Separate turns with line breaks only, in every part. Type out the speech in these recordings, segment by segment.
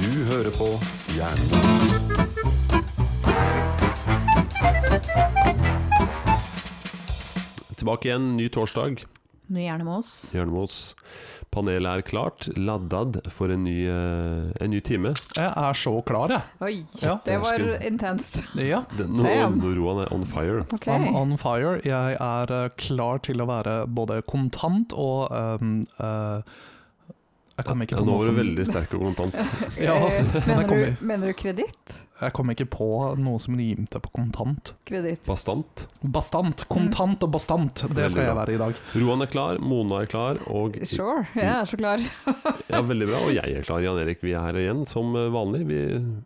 Du hører på Jernbanen.
Tilbake igjen, ny torsdag.
Mye gjerne med oss.
Hjørnemos panel er klart. Laddad for en ny, eh, en ny time.
Jeg er så klar, jeg.
Oi,
Ja,
det
det var
var
skudd.
intenst.
Ja.
Den, nå,
Damn.
nå Roan er on fire.
Ok.
I'm on fire. Jeg er eh, klar til å være både kontant og ehm, eh, Jeg kom ikke
Ja,
på
nå
noe
var
som
du veldig sterk og kontant.
Ja,
Eh,
der kom
mener, du, mener du kreditt?
Jeg kom ikke på noe som rimte på kontant.
Kreditt.
Bastant.
Mm.
Bastant. Kontant og bastant, det
Veldig
skal jeg
bra.
være i dag.
Roan er klar, Mona er klar, og
Sure, jeg er så klar.
ja, veldig bra. Og jeg er klar, Jan Erik. Vi er her igjen som eh, vanlig. Vi,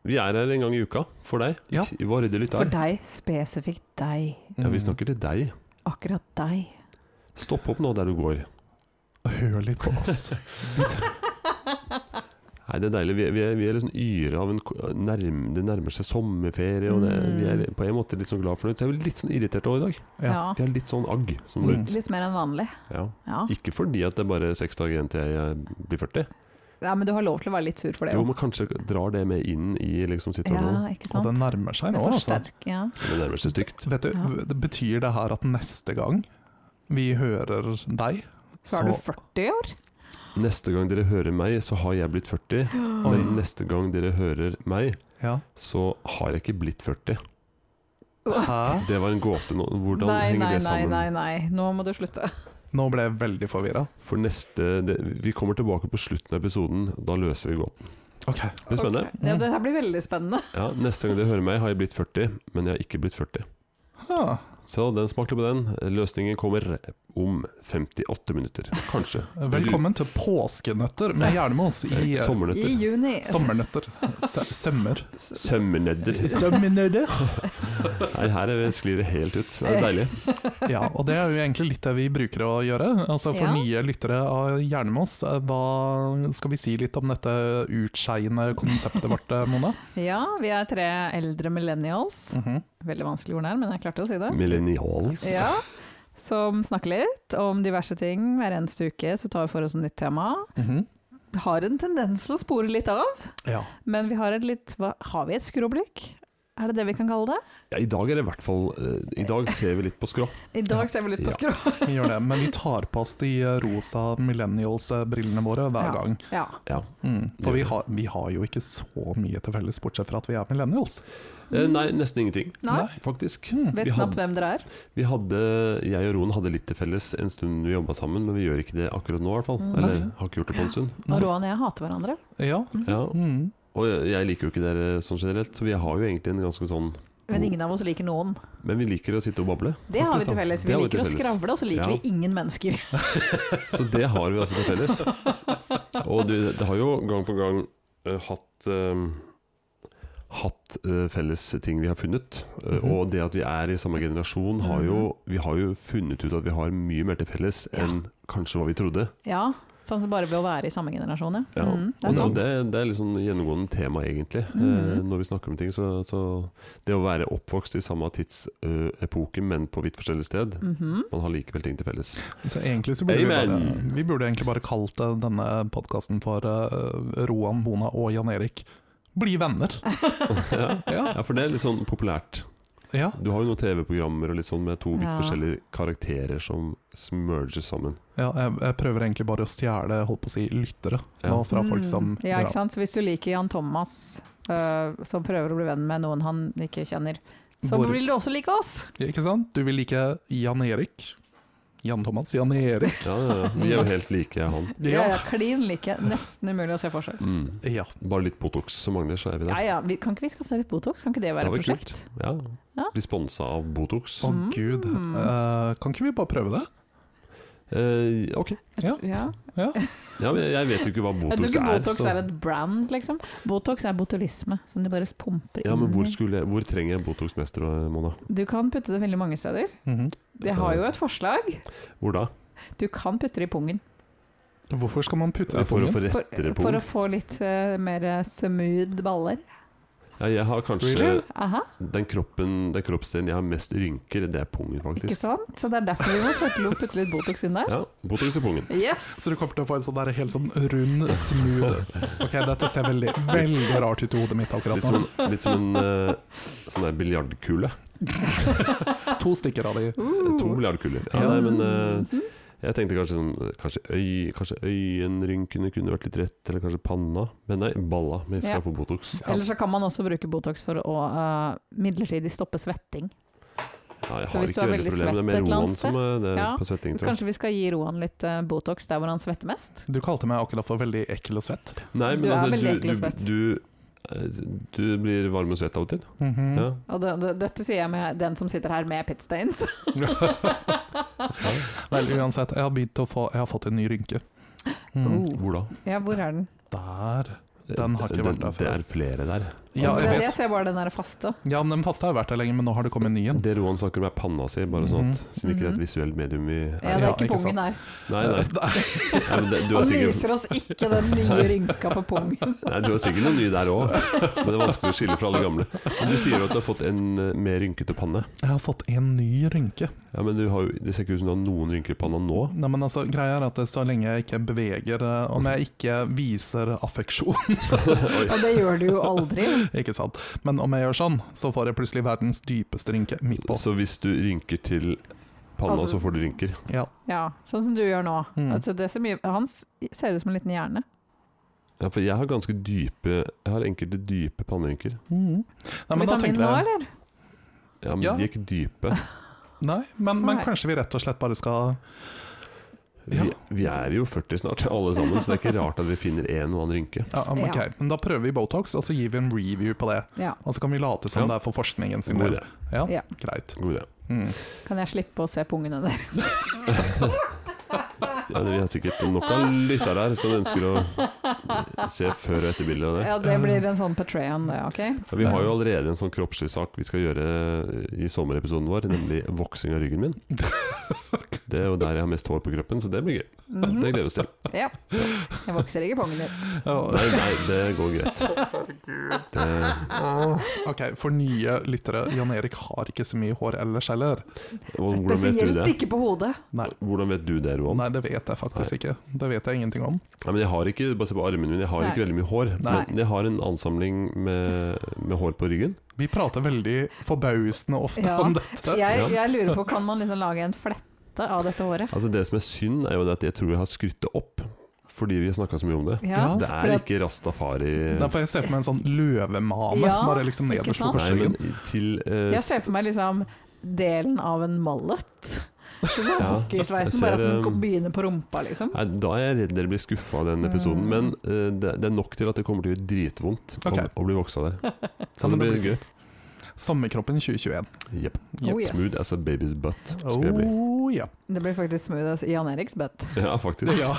vi er her en gang i uka for deg.
Ja.
I Vår rydde
For
lytter.
deg, spesifikt deg.
Ja, vi snakker til deg.
Akkurat deg.
Stopp opp nå der du går.
Mm. Hør litt på oss.
Nei, det er deilig. Vi er, vi er, vi er liksom yre av en ko- nærm, Det nærmer seg sommerferie, og det, vi er
Mm.
på en måte litt sånn glad for det. Så jeg er litt sånn irritert over i dag.
Ja.
Ja.
Vi er litt sånn agg. Som
Litt,
rundt.
litt mer enn vanlig.
Ja.
Ja.
Ikke fordi at det er bare seks dager igjen til jeg blir 40.
ja, men du har lov til å være litt sur for det
Jo,
òg.
men kanskje drar det med inn i liksom situasjonen.
Ja, ikke sant?
Og det nærmer seg
Det
nå, altså.
forsterker- ja.
Det nærmer seg stygt.
Vet du,
Ja.
det Betyr det her at neste gang vi hører deg,
Så er du 40 år?
Neste gang dere hører meg, så har jeg blitt 40.
Oi.
Mm.
Men neste gang dere hører meg,
ja.
så har jeg ikke blitt 40.
Hæ?
Det var en gåte nå. Hvordan
nei,
henger
nei,
det
nei,
sammen?
nei, nei, nå må du slutte.
Nå ble jeg veldig forvirra.
For neste det, Vi kommer tilbake på slutten av episoden. Da løser vi gåten.
Ok.
Det blir spennende.
Ok. Ja, det her blir veldig spennende.
Ja, neste gang dere hører meg, har jeg blitt 40, men jeg har ikke blitt 40.
Huh.
Så den smakte på den. Løsningen kommer om 58 minutter. Kanskje.
Velkommen til påskenøtter med Jernmos i
Eh,
eh,
I
Sommernøtter.
juni.
sommernøtter. Sø- Sømmer.
Sømmernedder.
Sømmernødder.
Nei, her er- sklir det helt ut. Det er deilig.
Ja, og det er jo egentlig litt det vi bruker å gjøre. Altså For
Ja.
nye lyttere av Jernmos, eh, hva skal vi si litt om dette utskeiende konseptet vårt, eh, Mona?
Ja, vi er tre eldre millennials.
Mhm.
Veldig vanskelig ord der, men jeg klarte å si det.
Millennials.
Ja, som snakker litt om diverse ting. Hver eneste uke så tar vi for oss et nytt tema.
Mhm.
Har en tendens til å spore litt av,
Ja.
men vi har et litt hva, Har vi et skråblikk? Er det det vi kan kalle det?
Ja, I dag er det i hvert fall eh, I dag ser vi litt på skrå.
I dag ser vi litt på
Ja.
skrå.
Vi gjør det, men vi tar på oss de eh, rosa millennials-brillene våre hver
Ja.
gang.
Ja.
Ja.
Mm. For vi har, vi har jo ikke så mye til felles, bortsett fra at vi er millennials.
Mm.
Eh, Nei, nesten ingenting,
Nei,
faktisk.
vet
Vi hadde,
knapt hvem dere er.
vi hadde Jeg og Roen hadde litt til felles en stund vi jobba sammen, men vi gjør ikke det akkurat nå, i hvert fall.
Mm.
Eller har ikke gjort det på en stund.
Og Roan og jeg hater hverandre.
Ja.
Ja.
Mm.
Og jeg- jeg liker jo ikke dere sånn generelt, så vi har jo egentlig en ganske sånn
Men ingen av oss liker noen.
Men vi liker å sitte og bable.
Det har vi
faktisk,
til
da.
felles. Vi
Det har
liker å
til felles.
skravle, og så liker
Ja.
vi ingen mennesker.
Så det har vi altså til felles. Og du, det har jo gang på gang eh, hatt eh, Hatt eh, felles ting vi har funnet. Eh, Og det at vi er i samme generasjon, har jo, vi har jo funnet ut at vi har mye mer til felles enn kanskje hva vi trodde.
Ja, sånn som bare ved å være i samme generasjon, ja.
Ja.
Mm,
og
det er
det,
sant. Mm.
det, det er litt sånn gjennomgående tema, egentlig. Eh, Når vi snakker om ting, så, så Det å være oppvokst i samme tidsepoke, men på vidt forskjellig sted,
Mm. Mhm.
man har likevel ting til felles.
Så egentlig så burde vi,
Amen.
bare, vi burde egentlig bare kalt eh, denne podkasten for eh, Roan, Mona og Jan Erik bli venner.
ja.
Ja.
ja, for det er litt sånn populært.
ja.
Du har jo noen TV-programmer og litt sånn med to vidt
Ja.
forskjellige karakterer som smerges sammen.
ja jeg, jeg prøver egentlig bare å stjele holdt på å si, lyttere
Ja.
nå fra folk som
Mm, Ja, ikke sant? Så hvis du liker Jan Thomas, øh, som prøver å bli venn med noen han ikke kjenner, så
Hvor-
vil du også like oss!
Ja, ikke sant? Du vil like Jan Erik? Jan Thomas? Jan Erik?
Ja, ja, ja. Vi er jo helt like, jeg og han.
Vi er klin like. Nesten umulig å se forskjell.
Mm.
Ja.
Bare litt Botox som mangler, så er vi
Ja,
der.
ja, vi, kan ikke vi skaffe deg litt Botox? Kan ikke det være
Det
et
var
prosjekt?
kult. Ja.
Ja.
Bli sponsa av Botox.
Å
Mm.
gud. Eh, kan ikke vi bare prøve det?
Eh, ok.
Jeg tror- Ja.
Ja.
Ja, men jeg vet jo ikke hva
Jeg tror
Botox,
ikke Botox
så
er et brand, liksom. Botox er botulisme, som du bare pumper inn
ja, men hvor,
i.
skulle, jeg- hvor trenger jeg Botox-mester, eh, Mona?
Du kan putte det veldig mange steder.
Mhm.
Jeg har jo et forslag.
Hvor da?
Du kan putte det i pungen.
Hvorfor skal man putte
Ja,
det i
for å
pungen?
få
For,
rettere
for
pung.
å få litt eh, mer smooth øh, baller.
Ja, jeg har kanskje
Really?
Aha,
den, kroppen, den kroppsdelen jeg har mest rynker, det er pungen,
ikke
faktisk.
sant? Så det er derfor vi må sørge å putte litt Botox inn der.
Ja, Botox i pungen.
Yes!
Så du kommer til å få en sånn der helt sånn rund, smooth Ok, dette ser veldig, veldig rart ut i hodet mitt akkurat
Litt som
nå.
en, litt som en eh, sånn der biljardkule. sånn-
To stykker av de.
Uh.
To biljardkuler. Ja, nei, men eh, jeg tenkte kanskje sånn eh, Kanskje, øy, kanskje øyenrynkene kunne vært litt rett, eller kanskje panna. Men nei, balla. Men jeg skal
Ja.
få Botox. Ja,
Eller så kan man også bruke Botox for å eh, midlertidig stoppe svetting.
jeg
så
har
hvis du
ikke
er
veldig
veldig
problem. Det er
svett et
mer
eller annet
Roman som er det
Ja,
på svetting, tror jeg.
Kanskje vi skal gi Roan litt eh, Botox der hvor han svetter mest?
Du kalte meg akkurat for veldig ekkel og svett.
Nei, men
Du er
altså,
veldig ekkel og
du,
svett.
du, eh, du blir varm og svett av og til.
Mhm.
Ja.
Og det, det, dette sier jeg med den som sitter her med pitstains.
Mm.
Vel, uansett, jeg har begynt å få Jeg har fått en ny rynke. Mm.
Oh.
Hvor da?
Ja, hvor er den?
Der. Den har ikke vært der
Det
før.
er flere der.
Ja,
For
jeg
det,
vet.
jeg ser bare den der faste.
Ja, men den faste har jo vært der lenge, men nå har det kommet en ny en.
Det Roan snakker om er panna si, bare sånn
Mm.
at siden ikke det er et visuelt medium vi
Ja,
er
det
Ja,
er ikke
ikke sant.
pungen her.
Nei, nei. nei men det, du, har
Han
sikkert,
viser oss ikke den nye rynka på pungen.
nei du har sikkert noen nye der òg, men det er vanskelig å skille fra alle gamle. Men du sier jo at du har fått en eh, mer rynkete panne.
Jeg har fått en ny rynke.
Ja, men du har, jo- Det ser ikke ut som du har noen rynker i panna nå.
Nei, men altså, greia er at så lenge jeg ikke beveger eh, Om jeg ikke viser affeksjon,
Og det gjør du jo aldri.
ikke sant. Men om jeg gjør sånn, så får jeg plutselig verdens dypeste rynke midt på.
Så hvis du rynker til panna,
Altså-
så får du rynker.
Ja.
Ja, sånn som du gjør nå.
Mm.
Altså, det er så mye, han s- ser ut som en liten hjerne.
Ja, for jeg har ganske dype Jeg har enkelte dype pannerynker.
Mhm. Nei, men da
Vitamin
tenker
nå,
jeg
eller?
Ja, men
Ja.
de er ikke dype.
Nei, men, men
Nei.
kanskje vi rett og slett bare skal
Vi,
Ja.
vi er jo 40 snart, alle sammen, så det er ikke rart at vi finner en og annen rynke.
ja, men ok, men Da prøver vi Botox, og så gir vi en review på det.
Ja.
Og så kan vi late som
Ja.
det er for forskningen sin
God
del.
idé.
Ja,
Ja.
greit.
God idé.
Mm.
Kan jeg slippe å se pungene der?
Ja, vi har sikkert nok av lyttere her som ønsker å se før- og etterbilder av det.
Ja, det blir en sånn Patreon, det, OK?
Ja, vi har jo allerede en sånn kroppslig sak vi skal gjøre i sommerepisoden vår, nemlig voksing av ryggen min. Det er jo der jeg har mest hår på kroppen, så det blir gøy. Det
Mhm.
gleder vi oss til.
Ja. Jeg vokser ikke pungen din.
Ja,
Nei, nei, det går greit. Det,
Ok, For nye lyttere, Jan Erik har ikke så mye hår ellers heller.
og hvordan vet du
Spesielt
det?
ikke på hodet.
Nei.
Hvordan vet du det, Roan?
Nei, det vet jeg faktisk ikke. Det vet jeg ingenting om.
Nei, men jeg har ikke, bare se på armene mine, jeg har ikke
Nei.
veldig mye hår.
Nei.
Men jeg har en ansamling med, med hår på ryggen.
Vi prater veldig forbausende ofte
Ja.
om dette.
Ja.
Jeg, jeg lurer på, kan man liksom lage en flette av dette håret?
Altså Det som er synd, er jo det at jeg tror jeg har skrytt det opp, fordi vi har snakka så mye om det.
Ja.
Det
fordi
er
at-
ikke rastafari
Da får jeg se for meg en sånn løvemane
Ja,
bare liksom
ikke
nederst på
sant?
Nei,
korsryggen.
men til eh,
Jeg ser for meg liksom delen av en mallet. Sånn
Ja,
Hockeysveisen,
jeg
bare at
ser,
den
um,
kom- begynner på rumpa, liksom.
Nei, Da er jeg redd dere blir skuffa av den episoden.
Mm.
Men eh, det, det er nok til at det kommer til å gjøre dritvondt
Ok.
å, å bli voksa der.
Ja,
Så
men
det
det
blir gøy.
Sommerkroppen 2021.
Jepp.
Oh, yes.
Smooth altså. as a baby's butt skal jeg bli.
Oh, ja.
Det blir faktisk smooth as Jan Eriks butt.
Ja, faktisk.
ja.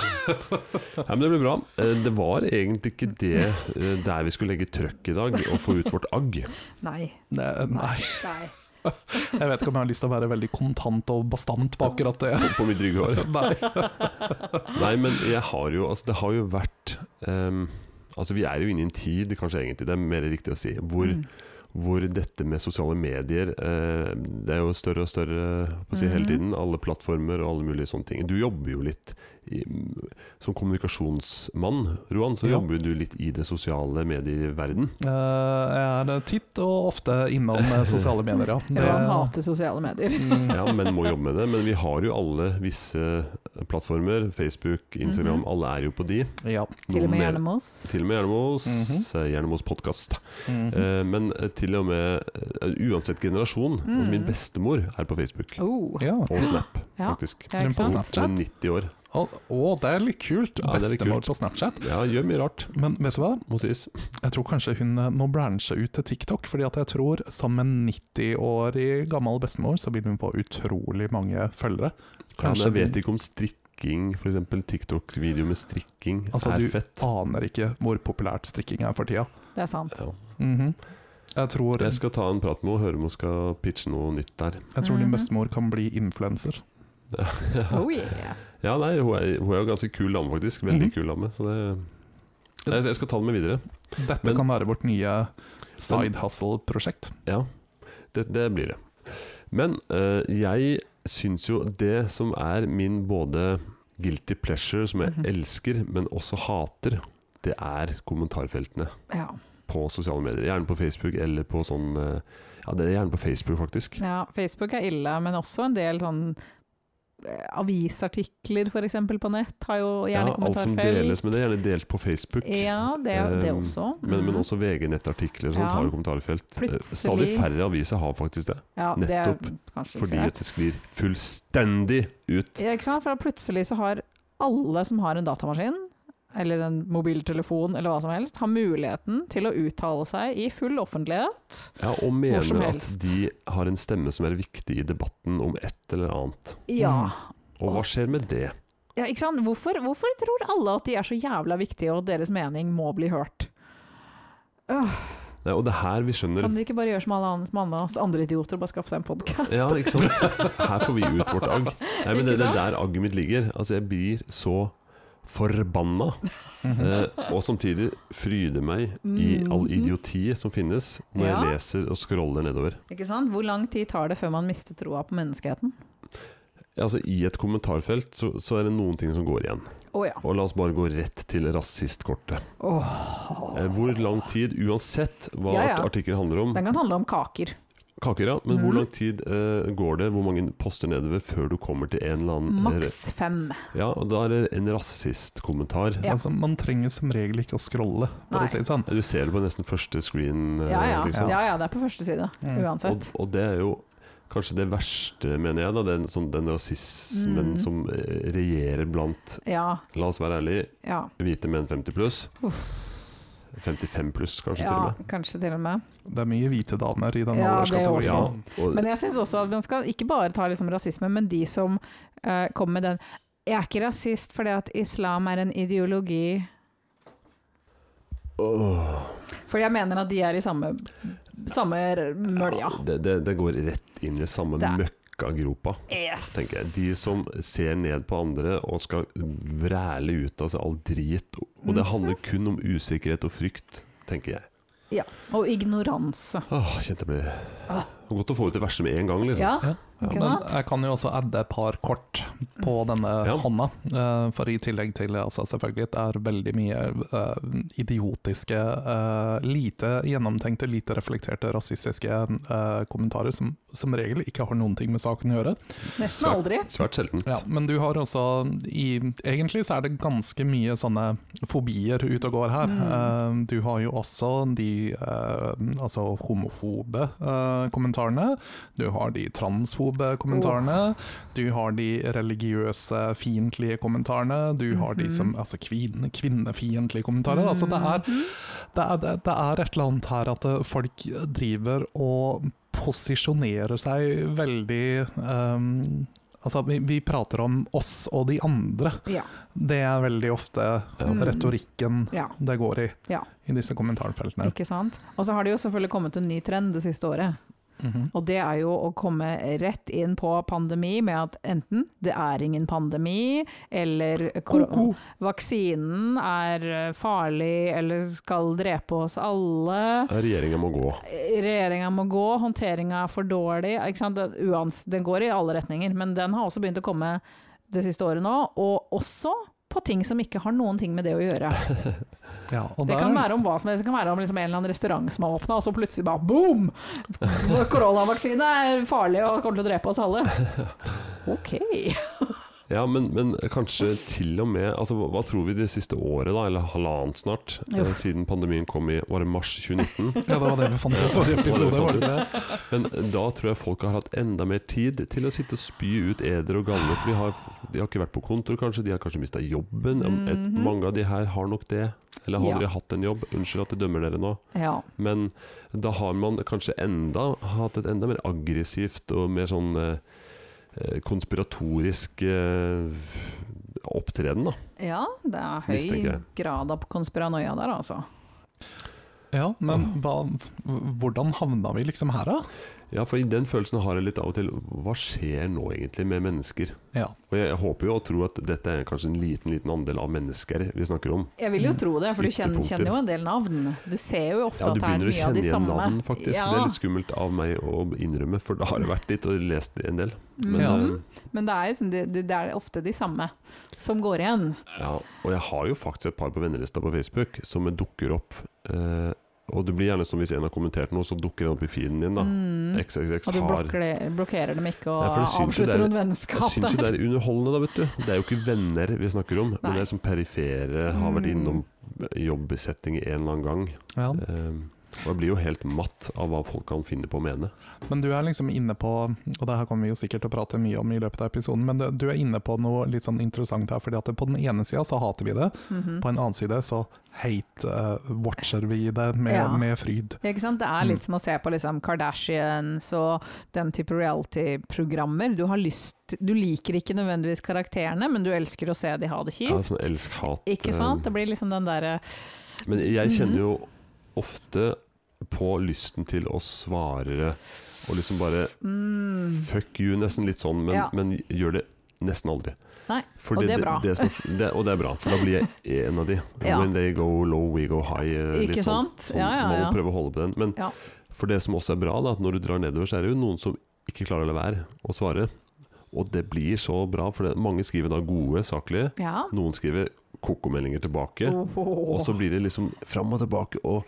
Nei, men det blir bra. Eh, Det var egentlig ikke det eh, der vi skulle legge trøkk i dag, og få ut vårt agg.
Nei.
Nei, nei,
Nei.
jeg vet ikke om jeg har lyst til å være veldig kontant og bastant på akkurat det.
På mitt rygge hår.
Nei.
Nei, men jeg har jo Altså, det har jo vært ehm, Altså, vi er jo inne i en tid, kanskje egentlig, det er mer riktig å si, hvor
Mm.
hvor dette med sosiale medier eh, Det er jo større og større holdt på å si, hele
Mhm.
tiden. Alle plattformer og alle mulige sånne ting. Du jobber jo litt i, som kommunikasjonsmann, Roan. Så
Ja.
jobber jo du litt i det sosiale medieverden.
Eh, Jeg er titt og ofte innom eh, sosiale medier, ja. Det-
Jan hater sosiale medier.
Mm.
Ja, men må jobbe med det. Men vi har jo alle visse eh, plattformer. Facebook, Instagram.
Mhm.
Alle er jo på de.
Ja.
Til og med
mer-
Hjernemos.
Til og med Jernemos.
Mhm.
eh, Jernemos podkast.
Mhm.
Eh, men eh, til og med eh, uansett generasjon. Altså min
Mhm.
bestemor er på Facebook.
Oh.
ja.
Og Snap,
Ja.
faktisk.
Ja, ikke
På
sant?
Snap.
Hun er 90 år.
Å, å, det er litt kult.
Ja, det er litt
Bestemor
kult.
på Snapchat.
Ja, gjør mye rart,
Men vet du hva?
må sies.
Jeg tror kanskje hun eh, må branche ut til TikTok, fordi at jeg tror som en 90-årig gammel bestemor, så vil hun få utrolig mange følgere.
Kanskje
Kanskje
jeg vet ikke om strikking, f.eks. TikTok-video med strikking,
Altså,
er
du-
fett.
Aner ikke hvor populært strikking er for tida.
Det er sant.
Ja.
Mhm. Jeg tror,
Jeg skal ta en prat med henne og høre om hun skal pitche noe nytt der.
jeg tror din
Mhm.
bestemor kan bli influenser.
Oh yeah.
Ja, nei, hun er, hun er jo ganske kul dame, faktisk. Veldig
Mhm.
kul dame. Så det Jeg jeg skal ta det med videre.
Dette
Men-
kan være vårt nye side hustle-prosjekt.
Ja, det, det blir det. Men eh, jeg syns jo det som er min både guilty pleasure, som jeg
Mhm.
elsker, men også hater, det er kommentarfeltene
Ja.
på sosiale medier. Gjerne på Facebook eller på sånn eh, Ja, det er gjerne på Facebook, faktisk.
ja. Facebook er ille, men også en del sånn eh, avisartikler f.eks. på nett har jo gjerne
alt som
kommentarfelt.
deles, men det er gjerne delt på Facebook.
Ja, det, det
Um,
også.
Men, men
Mm.
også VG-nettartikler som
Ja.
tar kommentarfelt. Eh, Stadig
Plutselig-
færre aviser har faktisk det,
ja, det er
nettopp
kanskje ikke
fordi
så
at det sklir fullstendig ut.
Ja, ikke sant? For da plutselig så har alle som har en datamaskin, eller en mobiltelefon, eller hva som helst, har muligheten til å uttale seg i full offentlighet.
Ja, og
som
mener at
helst.
de har en stemme som er viktig i debatten om et eller annet.
Ja.
Og hva skjer med det?
ja ikke sant? Hvorfor, hvorfor tror alle at de er så jævla viktige, og at deres mening må bli hørt? Øh,
Nei, og det er her vi skjønner
kan de ikke bare gjøre som alle andre, som alle oss andre idioter og bare skaffe seg en podkast?
Ja, ikke sant? Her får vi ut vårt agg. Nei, men det
Ikke
det er
sant?
der agget mitt ligger. Altså, jeg blir så forbanna, eh, og samtidig fryder meg i all
Mhm.
idioti som finnes, når
Ja.
jeg leser og scroller nedover.
Ikke sant? Hvor lang tid tar det før man mister troa på menneskeheten?
Altså, I et kommentarfelt så, så er det noen ting som går igjen.
Å ja.
Og la oss bare gå rett til rasistkortet. Eh, Hvor lang tid, uansett hva
Ja, ja.
art- artikkelen handler om,
Den kan handle om kaker.
Kaker, ja. Men hvor
Mhm.
lang tid eh, går det, hvor mange poster nedover, før du kommer til en eller annen
Maks fem.
Ja, og da er det en rasistkommentar.
Ja.
Altså, man trenger som regel ikke å scrolle, for
Nei.
å si det sånn.
Du ser det på nesten første screen. eh,
Ja ja.
liksom.
ja ja, det er på første side.
Mm.
Uansett.
Og, og det er jo kanskje det verste, mener jeg, da, den, sånn, den rasismen
Mhm.
som eh, regjerer blant,
Ja,
la oss være ærlige,
ja.
hvite menn 50 pluss.
Uff.
55 pluss, kanskje til
ja,
og med.
kanskje til og med.
Det er mye hvite damer i den
Ja, det er
alderskategorien.
Ja,
også.
og,
Men jeg syns også at man skal ikke bare ta liksom rasisme, men de som eh, kommer med den Jeg er ikke rasist fordi at islam er en ideologi.
Åh,
For jeg mener at de er i samme, samme mølja.
ja, det, det, det går rett inn i samme
Det er-
møkkagropa.
Yes!
tenker jeg. De som ser ned på andre og skal vræle ut av seg all drit. Og det
Mhm.
handler kun om usikkerhet og frykt, tenker jeg.
Og ignoranse.
Åh, kjente jeg ble Det var Godt å få ut det verste med en gang, liksom.
Ah. Ja.
Ja.
Ikke
Men
sant?
jeg kan jo også adde et par kort
Mm.
på denne
Ja.
hånda. eh, For i tillegg til altså selvfølgelig det er veldig mye eh, idiotiske, eh, lite gjennomtenkte, lite reflekterte rasistiske eh, kommentarer som som regel ikke har noen ting med saken å gjøre.
Nesten aldri.
Svært sjelden.
Ja, men du har også i, Egentlig så er det ganske mye sånne fobier ute og går her.
Mm.
Eh, du har jo også de eh, altså homofobe eh, kommentarene. Du har de transfobe kommentarene. Du har de religiøse fiendtlige kommentarene. Du har de som altså kvinne, kvinnefiendtlige kommentarer. Altså det er
Mm.
det er, det, det er et eller annet her at eh, folk driver og posisjonerer seg veldig ehm, Altså, vi, vi prater om oss og de andre.
Ja. Mm.
Det er veldig ofte eh, retorikken
ja.
det går i,
Ja.
i disse kommentarfeltene.
Ikke sant. Og så har det jo selvfølgelig kommet en ny trend det siste året.
Mhm.
Og det er jo å komme rett inn på pandemi med at enten det er ingen pandemi, eller kor-
Ko-ko.
vaksinen er eh, farlig eller skal drepe oss alle.
Regjeringa må gå.
Regjeringa må gå, håndteringa er for dårlig. Ikke sant? Den, uans, den går i alle retninger, men den har også begynt å komme det siste året nå. Og også på ting som ikke har noen ting med det å gjøre.
Ja, og
Det
der,
kan være om hva som helst. Det kan være om liksom en eller annen restaurant som har åpna, og så plutselig bare boom! Koronavaksine er farlig og kommer til å drepe oss alle. Ok.
Ja, men, men kanskje til og med altså, Hva hva tror vi det siste året, da, eller halvannet snart, eh,
Uff.
siden pandemien kom i var det mars 2019?
Ja, det var det vi fant ut i forrige episode. Var det det?
Men da tror jeg folk har hatt enda mer tid til å sitte og spy ut eder og galle. For de har, de har ikke vært på kontor, kanskje. De har kanskje mista jobben. Om Et,
Mhm.
mange av de her har nok det. Eller har
Ja.
aldri hatt en jobb. Unnskyld at jeg dømmer dere nå.
Ja.
Men da har man kanskje enda hatt et enda mer aggressivt og mer sånn eh, eh, konspiratorisk eh, opptreden, da.
ja, det er
Mistenker jeg.
høy grad av konspiranoia der, altså.
Ja, men hva, hvordan havna vi liksom her, da?
Ja, for den følelsen har jeg litt av og til. Hva skjer nå egentlig med mennesker?
Ja.
Og jeg håper jo og tror at dette er kanskje en liten liten andel av mennesker vi snakker om.
Jeg vil jo tro det, for du kjenner,
Ytterpunkter.
kjenner jo en del navn. Du ser jo ofte
Ja, du
at det er
begynner å
mye av
kjenne
de
igjen
samme.
navn, faktisk.
Ja.
Det er litt skummelt av meg å innrømme, for da har jeg vært litt og lest en del. Men,
Ja.
eh,
Men det er, liksom- det, det det er ofte de samme som går igjen.
Ja, og jeg har jo faktisk et par på vennelista på Facebook som dukker opp. Eh, og det blir gjerne som hvis en har kommentert noe, så dukker den opp i feeden din. da.
Mm.
XXX
Og du
har
blokkerer, blokkerer dem ikke
Nei,
og
for det syns jo
avslutter
det er-
noen
Jeg
vennskap
syns jo
der.
det er underholdende, da, vet du. Det er jo ikke venner vi snakker om,
Nei.
men det er som perifere har vært
Mm.
innom jobbbesetting en eller annen gang.
ja.
Eh, og jeg blir jo helt matt av hva folk kan finne på å mene.
Men du er liksom inne på, og det her kommer vi jo sikkert til å prate mye om i løpet av episoden, men det- du er inne på noe litt sånn interessant her. fordi at på den ene sida så hater vi det,
Mhm.
på en annen side så hate-watcher vi det med,
Ja.
med fryd.
Ikke sant? Det
Mm.
er litt som å se på liksom Kardashians og den type reality-programmer. Du, har lyst- du liker ikke nødvendigvis karakterene, men du elsker å se de ha det
Ja,
kjipt.
sånn elsk-hat.
Ikke sant?
eh,
Det blir liksom den derre
Men jeg
Mhm.
kjenner jo ofte på lysten til å svare og liksom bare
mm,
Fuck you, nesten litt sånn, men,
Ja.
men gjør det nesten aldri.
Nei,
Fordi
og det er bra.
Det, som er- det, og det er bra, for da blir jeg en av de.
Ja.
When they go low, we go high. eh, litt
Ikke
sånn.
sant?
sånn
Ja, ja,
Man
ja.
må prøve å holde på den. Men
Ja.
for det som også er bra, da, at når du drar nedover, så er det jo noen som ikke klarer å la være å svare. Og det blir så bra, for det, mange skriver da gode, saklige.
Ja.
Noen skriver koko-meldinger tilbake. Og så blir det liksom fram og tilbake, og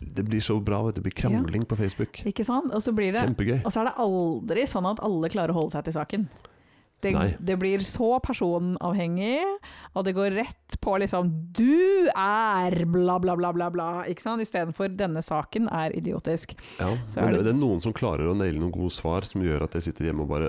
det blir så bra. vet du. Det blir krangling på Facebook.
Ikke sant? Og så blir det
Kjempegøy.
Og så er det aldri sånn at alle klarer å holde seg til saken. Det,
Nei.
det blir så personavhengig, og det går rett på liksom Du er bla, bla, bla, bla, bla. Ikke sant? Istedenfor denne saken er idiotisk.
Ja.
Så er
Men det,
det-
det er noen som klarer å naile noen gode svar, som gjør at jeg sitter hjemme og bare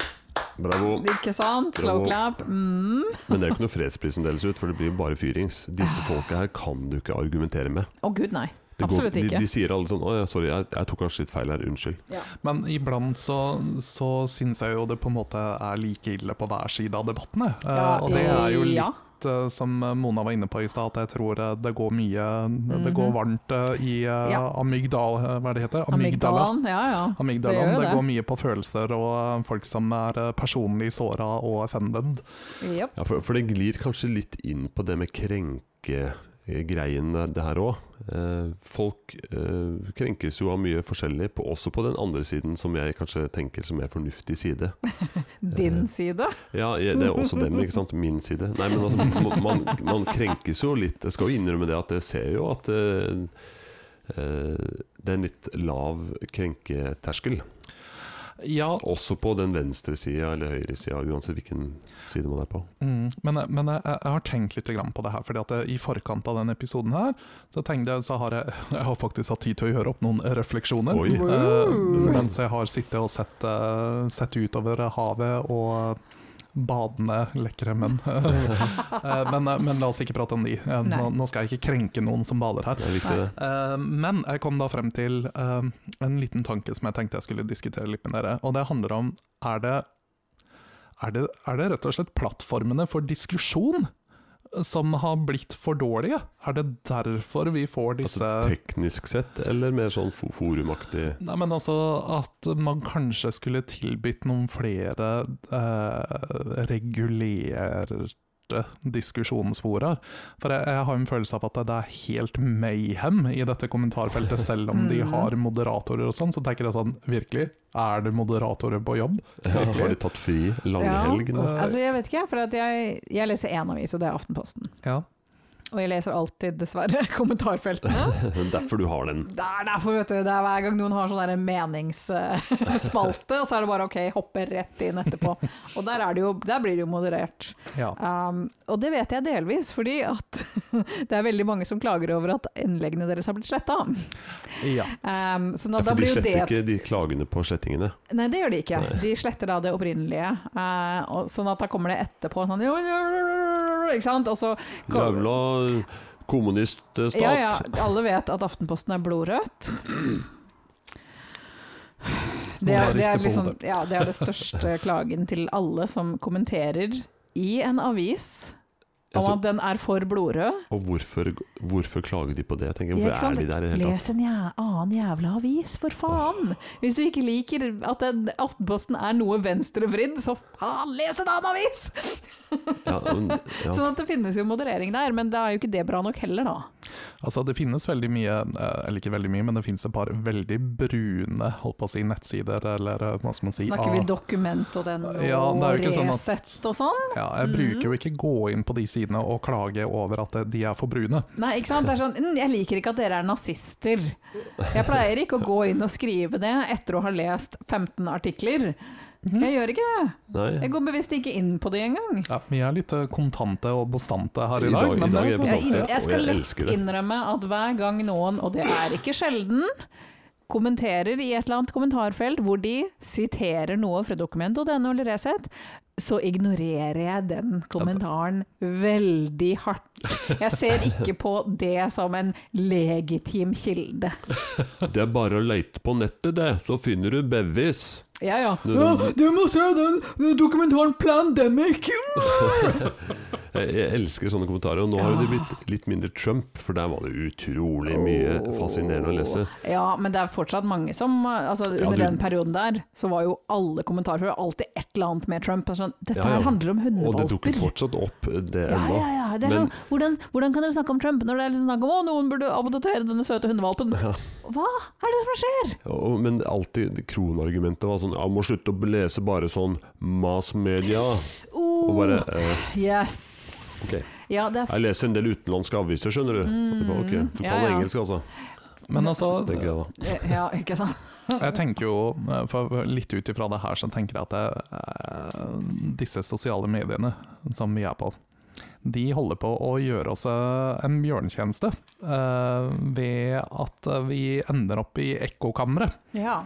Bravo.
Ikke sant?
Bravo.
Slow clap. Mm.
Men det er jo ikke noe fredspris som deles ut, for det blir jo bare fyrings. Disse
Ah.
folka her kan du ikke argumentere med.
Å gud, nei.
Det
Absolutt ikke.
De, de sier alle sånn Å ja, sorry, jeg, jeg tok kanskje litt feil her. Unnskyld.
Men iblant så, så syns jeg jo det på en måte er like ille på hver side av debattene. Eh, og det er jo litt
ja.
eh, som Mona var inne på i stad, at jeg tror eh, det går mye
Mhm.
Det går varmt eh, i eh,
Ja.
amygdal... eh, Hva er det heter? Amygdala.
Amygdalaen. Ja, ja. Det gjør
Amygdalaen,
jo
det
det.
går mye på følelser og eh, folk som er eh, personlig såra og offended.
Jep.
Ja, for, for det glir kanskje litt inn på det med krenkegreiene, det her òg. Eh, folk eh, krenkes jo av mye forskjellig, på, også på den andre siden som jeg kanskje tenker som er fornuftig side.
Eh,
Din side.
Ja, jeg, det er også dem, ikke sant? Min side. Nei, men altså, man, man, man krenkes jo litt. Jeg skal jo innrømme det at jeg ser jo at eh, eh, det er en litt lav krenketerskel.
Ja,
Også på den venstre sida eller høyre sida, uansett hvilken side man er på.
Mm, men men jeg, jeg har tenkt litt grann på det her. fordi at jeg, I forkant av denne episoden her, så tenkte jeg, så har jeg, jeg har faktisk hatt tid til å gjøre opp noen refleksjoner.
Oi.
Eh,
Wow.
mens jeg har sittet og sett, eh, sett utover havet og badende lekre menn. Eh, men, eh, men la oss ikke prate om de. Eh,
Nei.
nå, nå skal jeg ikke krenke noen som bader her.
Det er viktig, det.
Eh, men jeg kom da frem til eh, en liten tanke som jeg tenkte jeg skulle diskutere litt med dere. Og det handler om er det, er det, er det rett og slett plattformene for diskusjon som har blitt for dårlige? Er det derfor vi får disse
Altså teknisk sett, eller mer sånn fo- forumaktig
Nei, men altså At man kanskje skulle tilbudt noen flere eh, regulerte diskusjonsfora. For jeg, jeg har en følelse av at det, det er helt mayhem i dette kommentarfeltet, selv om de
Mhm.
har moderatorer og sånn. Så tenker jeg sånn, virkelig? Er det moderatorer på jobb? Virkelig?
Har de tatt fri langhelg nå?
Eh,
Altså, jeg vet ikke, for at jeg, jeg leser én avis, og det er Aftenposten.
ja.
Og jeg leser alltid, dessverre, kommentarfeltene.
Derfor du har den.
Det er derfor, vet du. Det er hver gang noen har sånn meningsspalte, og så er det bare ok, hoppe rett inn etterpå. Og der, er det jo, der blir det jo moderert.
ja.
Um, og det vet jeg delvis, fordi at det er veldig mange som klager over at innleggene deres har blitt sletta.
ja.
Um, så
Ja,
da, da
for de
blir jo det
sletter ikke de klagene på slettingene.
Nei, det gjør de ikke.
Nei.
De sletter da det opprinnelige. eh, og, sånn at da kommer det etterpå sånn Ikke sant? Og så
Jævla kommuniststat.
Ja, ja. Alle vet at Aftenposten er blodrødt. Det
Mona
er, det
rister
er
på
liksom
hodet.
Ja, det er det største klagen til alle som kommenterer i en avis Om
Altså,
at den er for blodrød.
og hvorfor, hvorfor klager de på det? Tenker, jeg, hvorfor
Ja, ikke sant?
er de der i det hele tatt?
Les en jæ annen jævla avis, for faen! Hvis du ikke liker at den Aftenposten er noe venstrevridd, så faen, les en annen avis!
Ja, men, ja.
Sånn at det finnes jo moderering der, men da er jo ikke det bra nok heller, da.
Altså Det finnes veldig mye, eh, eller ikke veldig mye, men det finnes et par veldig brune holdt på å si, nettsider, eller eh, hva skal man si
Snakker vi
ah,
dokument og den
Ja,
og
det er jo ikke sånn at-
Resett og sånn?
ja, Jeg bruker jo ikke gå inn på de sidene og klage over at eh, de er for brune.
Nei, ikke sant? Det er sånn mm, Jeg liker ikke at dere er nazister. Jeg pleier ikke å gå inn og skrive det etter å ha lest 15 artikler. Jeg gjør ikke det.
Nei.
Jeg går bevisst ikke inn på det engang.
Ja, vi er litt eh, kontante og bestante her
I
i dag.
dag- i
men eh,
dag
det-
er vi
Jeg,
sant, ja.
inn- jeg skal
Og jeg
lett
elsker det.
innrømme at hver gang noen, og det er ikke sjelden, kommenterer i et eller annet kommentarfelt hvor de siterer noe fra dokument.no eller Resett, så ignorerer jeg den kommentaren veldig hardt. Jeg ser ikke på det som en legitim kilde.
Det er bare å leite på nettet, det, så finner du bevis.
Ja, ja.
Du- du-
du må se den dokumentaren Plandemic!
Jeg, jeg elsker sånne kommentarer. Og nå har det blitt litt mindre Trump, for der var det utrolig mye fascinerende å lese.
Ja, men det er fortsatt mange som altså,
Ja,
Under
du-
den perioden der så var jo alle kommentarfelt alltid et eller annet med Trump. Altså, Sånn, Dette
Ja, ja.
her handler om
Og det dukker
hundevalper.
fortsatt opp, det
Ja,
ennå.
ja, ja. Det er
Men-
sånn, hvordan, hvordan kan dere snakke om Trump når det er liksom snakk om å, noen burde adoptere denne søte hundevalpen? Hva er det som skjer?
Og- Men alltid kronargumentet var sånn Jeg må slutte å lese bare sånn mass media. Og bare eh,
Oh, Yes!
Ok,
Ja, det er
jeg leser en del utenlandske aviser, skjønner du. Det var, ok, du
ja,
kan
ja.
engelsk, altså.
Men altså,
Tenker jeg da.
f Ja, ikke sant?
Jeg tenker jo, eh, for litt ut ifra det her, så tenker jeg at det, eh, disse sosiale mediene som vi er på, de holder på å gjøre oss eh, en bjørnetjeneste eh, ved at eh, vi ender opp i ekkokamre.
Ja.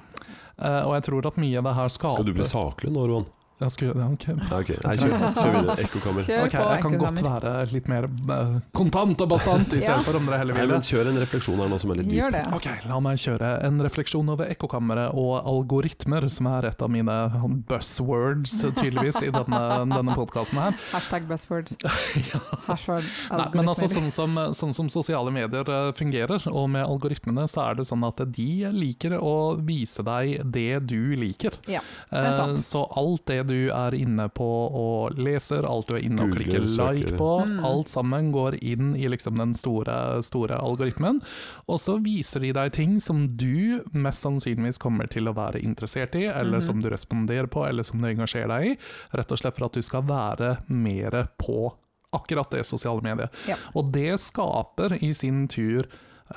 Eh, og jeg tror at mye av det her skaper
Skal du bli saklig nå, Roan?
Jeg skulle- ja, ok.
Ja, ok. Nei, kjør, kjør videre. Ekkokammer.
Kjør
Ok,
på,
jeg kan godt
ekkokammer.
være litt mer eh, kontant og bastant i
Ja.
stedet for om dere heller
Nei,
vil
men
det.
kjør en refleksjon her nå som er litt dyp.
Gjør det.
Ok, la meg kjøre en refleksjon over ekkokammeret og algoritmer, som er et av mine buzzwords, eh, tydeligvis, i denne, denne podkasten her.
Hashtag buzzword. Hashtag
Nei, men altså,
algoritmer.
sånn som, sånn som sosiale medier eh, fungerer, og med algoritmene, så er det sånn at de liker å vise deg det du liker.
Ja, det er sant.
Eh, Så alt det du er inne på og leser, alt du er inne og
Googler,
klikker like
søker.
på,
Mm.
alt sammen går inn i liksom den store, store algoritmen. Og så viser de deg ting som du mest sannsynligvis kommer til å være interessert i, eller som du responderer på, eller som du engasjerer deg i. Rett og slett for at du skal være mer på akkurat det sosiale mediet.
Ja.
Og det skaper i sin tur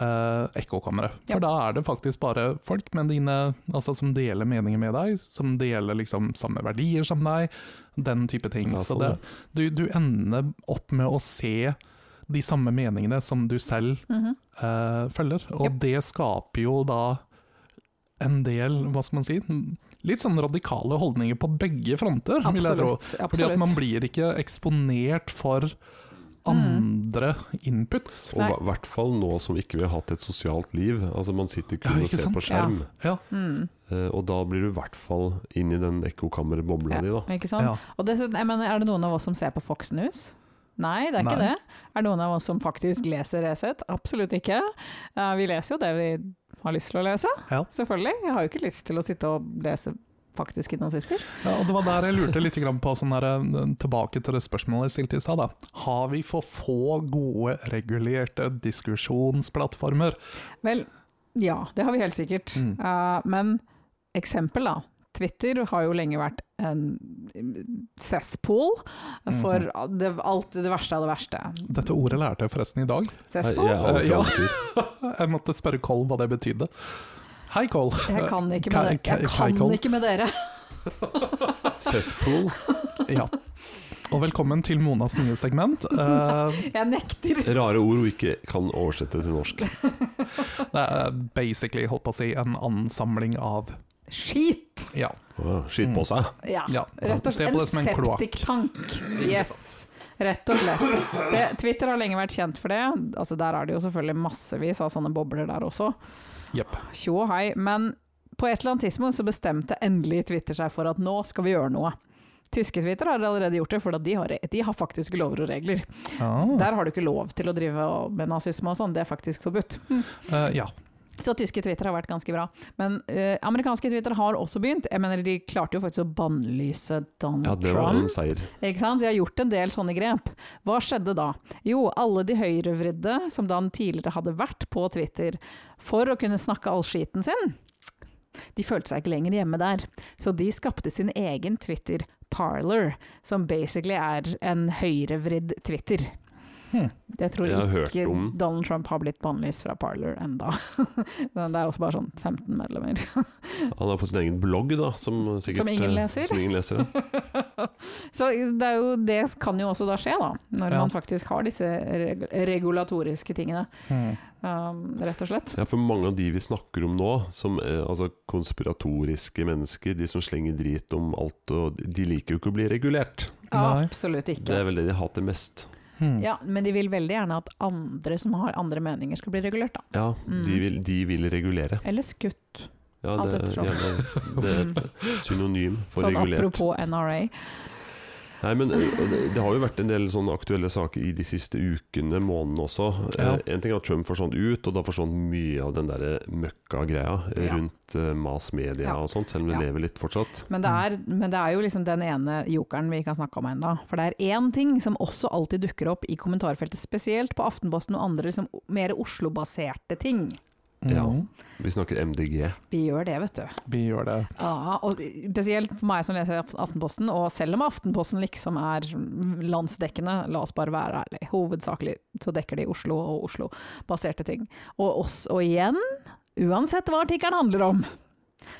eh, ekkokamre.
Ja.
For da er det faktisk bare folk med dine, altså som deler meninger med deg, som deler liksom samme verdier som deg, den type ting.
Ja,
Så
sånn,
det, du, du ender opp med å se de samme meningene som du selv
Mm-hmm.
eh, følger, og det skaper jo da en del, hva skal man si, litt sånn radikale holdninger på begge fronter, vil jeg tro.
Absolutt.
Fordi at man
absolutt.
blir ikke eksponert for andre inputs.
Og i hvert fall nå som ikke vi har hatt et sosialt liv. Altså Man sitter kun
Ja, ikke
og ser
sant?
på skjerm.
Ja,
Mm.
Eh, Og da blir du i hvert fall inn i den ekkokammerbobla di, da.
Ikke sant?
Ja.
Og dessuten, jeg mener, er det noen av oss som ser på Fox News? Nei, det er ikke
Nei.
det. Er det noen av oss som faktisk leser Resett? Absolutt ikke. Eh, vi leser jo det vi har lyst til å lese,
Ja.
selvfølgelig. Jeg har jo ikke lyst til å sitte og lese faktisk gymnasister.
ja, og det var der jeg lurte litt grann på, sånn der, tilbake til det spørsmålet jeg stilte i stad. da. Har vi for få gode, regulerte diskusjonsplattformer?
Vel, ja, det har vi helt sikkert.
Mm.
Eh, men eksempel, da. Twitter har jo lenge vært en cesspool for
Mhm.
det, alt det verste av det verste.
Dette ordet lærte jeg forresten i dag.
Nei,
Cesspool?
jeg aner ikke
Ja.
hva det betyr.
Jeg måtte spørre Koll hva det betydde. Hei, Koll.
Jeg kan ikke
Ka-
med, det.
ka-
jeg kan
kaikol.
ikke med dere.
Cesspool,
Ja. Og velkommen til Monas nye segment. Eh,
Jeg nekter.
rare ord hun ikke kan oversette til norsk.
det er basically, holdt på å si, en ansamling av
Skit!
Ja.
Åh, Skitt på seg.
Ja,
Ja,
rett og
se
slett.
på
En
det som en kloakk.
septiktank. Yes. Rett og slett. Det, Twitter har lenge vært kjent for det. Altså, der er det jo selvfølgelig massevis av sånne bobler der også.
Jepp.
Tjo og hei. Men på et eller annet tidspunkt så bestemte endelig Twitter seg for at nå skal vi gjøre noe. Tyske Twitter har allerede gjort det, for de har, de har faktisk lover og regler.
Ah,
Der har du ikke lov til å drive med nazisme og sånn, det er faktisk forbudt.
eh, ja.
Så tyske Twitter har vært ganske bra. Men eh, amerikanske Twitter har også begynt. Jeg mener, De klarte jo faktisk å bannlyse Donald
Ja, det var en
Trump.
seier.
Ikke sant? De har gjort en del sånne grep. Hva skjedde da? Jo, alle de høyrevridde som da han tidligere hadde vært på Twitter for å kunne snakke all skiten sin, de følte seg ikke lenger hjemme der. Så de skapte sin egen Twitter parlor, som basically er en høyrevridd Twitter.
Hmm.
Jeg tror
Jeg har hørt
ikke
om-
Donald Trump har blitt bannlyst fra parlor enda. Men det er også bare sånn 15 medlemmer.
Han har fått sin egen blogg, da, som sikkert
Som ingen
eh,
leser.
Som ingen leser ja.
Så det, er jo, det kan jo også da skje, da. Når
Ja.
man faktisk har disse reg regulatoriske tingene.
Hmm.
Um, rett og slett.
Ja, for mange av de vi snakker om nå, som eh, altså konspiratoriske mennesker, de som slenger drit om alt, og de liker jo ikke å bli regulert.
Nei.
Absolutt
Det
ikke.
er vel det de hater mest.
Hmm.
Ja, men de vil veldig gjerne at andre som har andre meninger skal bli regulert, da.
Ja,
Mm.
de, vil, de vil regulere.
Eller skutt.
Ja,
Alt
det,
ettersom.
gjerne- det er et synonym for
Sånn
regulert.
apropos NRA.
Nei, men eh, det det har jo vært en del sånne aktuelle saker i de siste ukene, månedene også.
Ja.
Eh, En ting er at Trump forsvant ut, og da forsvant mye av den der møkka-greia eh,
Ja.
rundt eh, mas media
Ja.
og sånt, selv om det
Ja.
lever litt fortsatt.
Men det, er, men det er jo liksom den ene jokeren vi ikke har snakka om ennå. For det er én ting som også alltid dukker opp i kommentarfeltet, spesielt på Aftenposten og andre liksom mer Oslo-baserte ting.
Ja.
Mm.
Vi snakker MDG.
Vi gjør det, vet du.
Vi gjør det.
Ja, og spesielt for meg som leser Af- Aftenposten, og selv om Aftenposten liksom er landsdekkende, la oss bare være ærlige, hovedsakelig så dekker de Oslo og Oslo-baserte ting. Og oss, og igjen, uansett hva artikkelen handler om,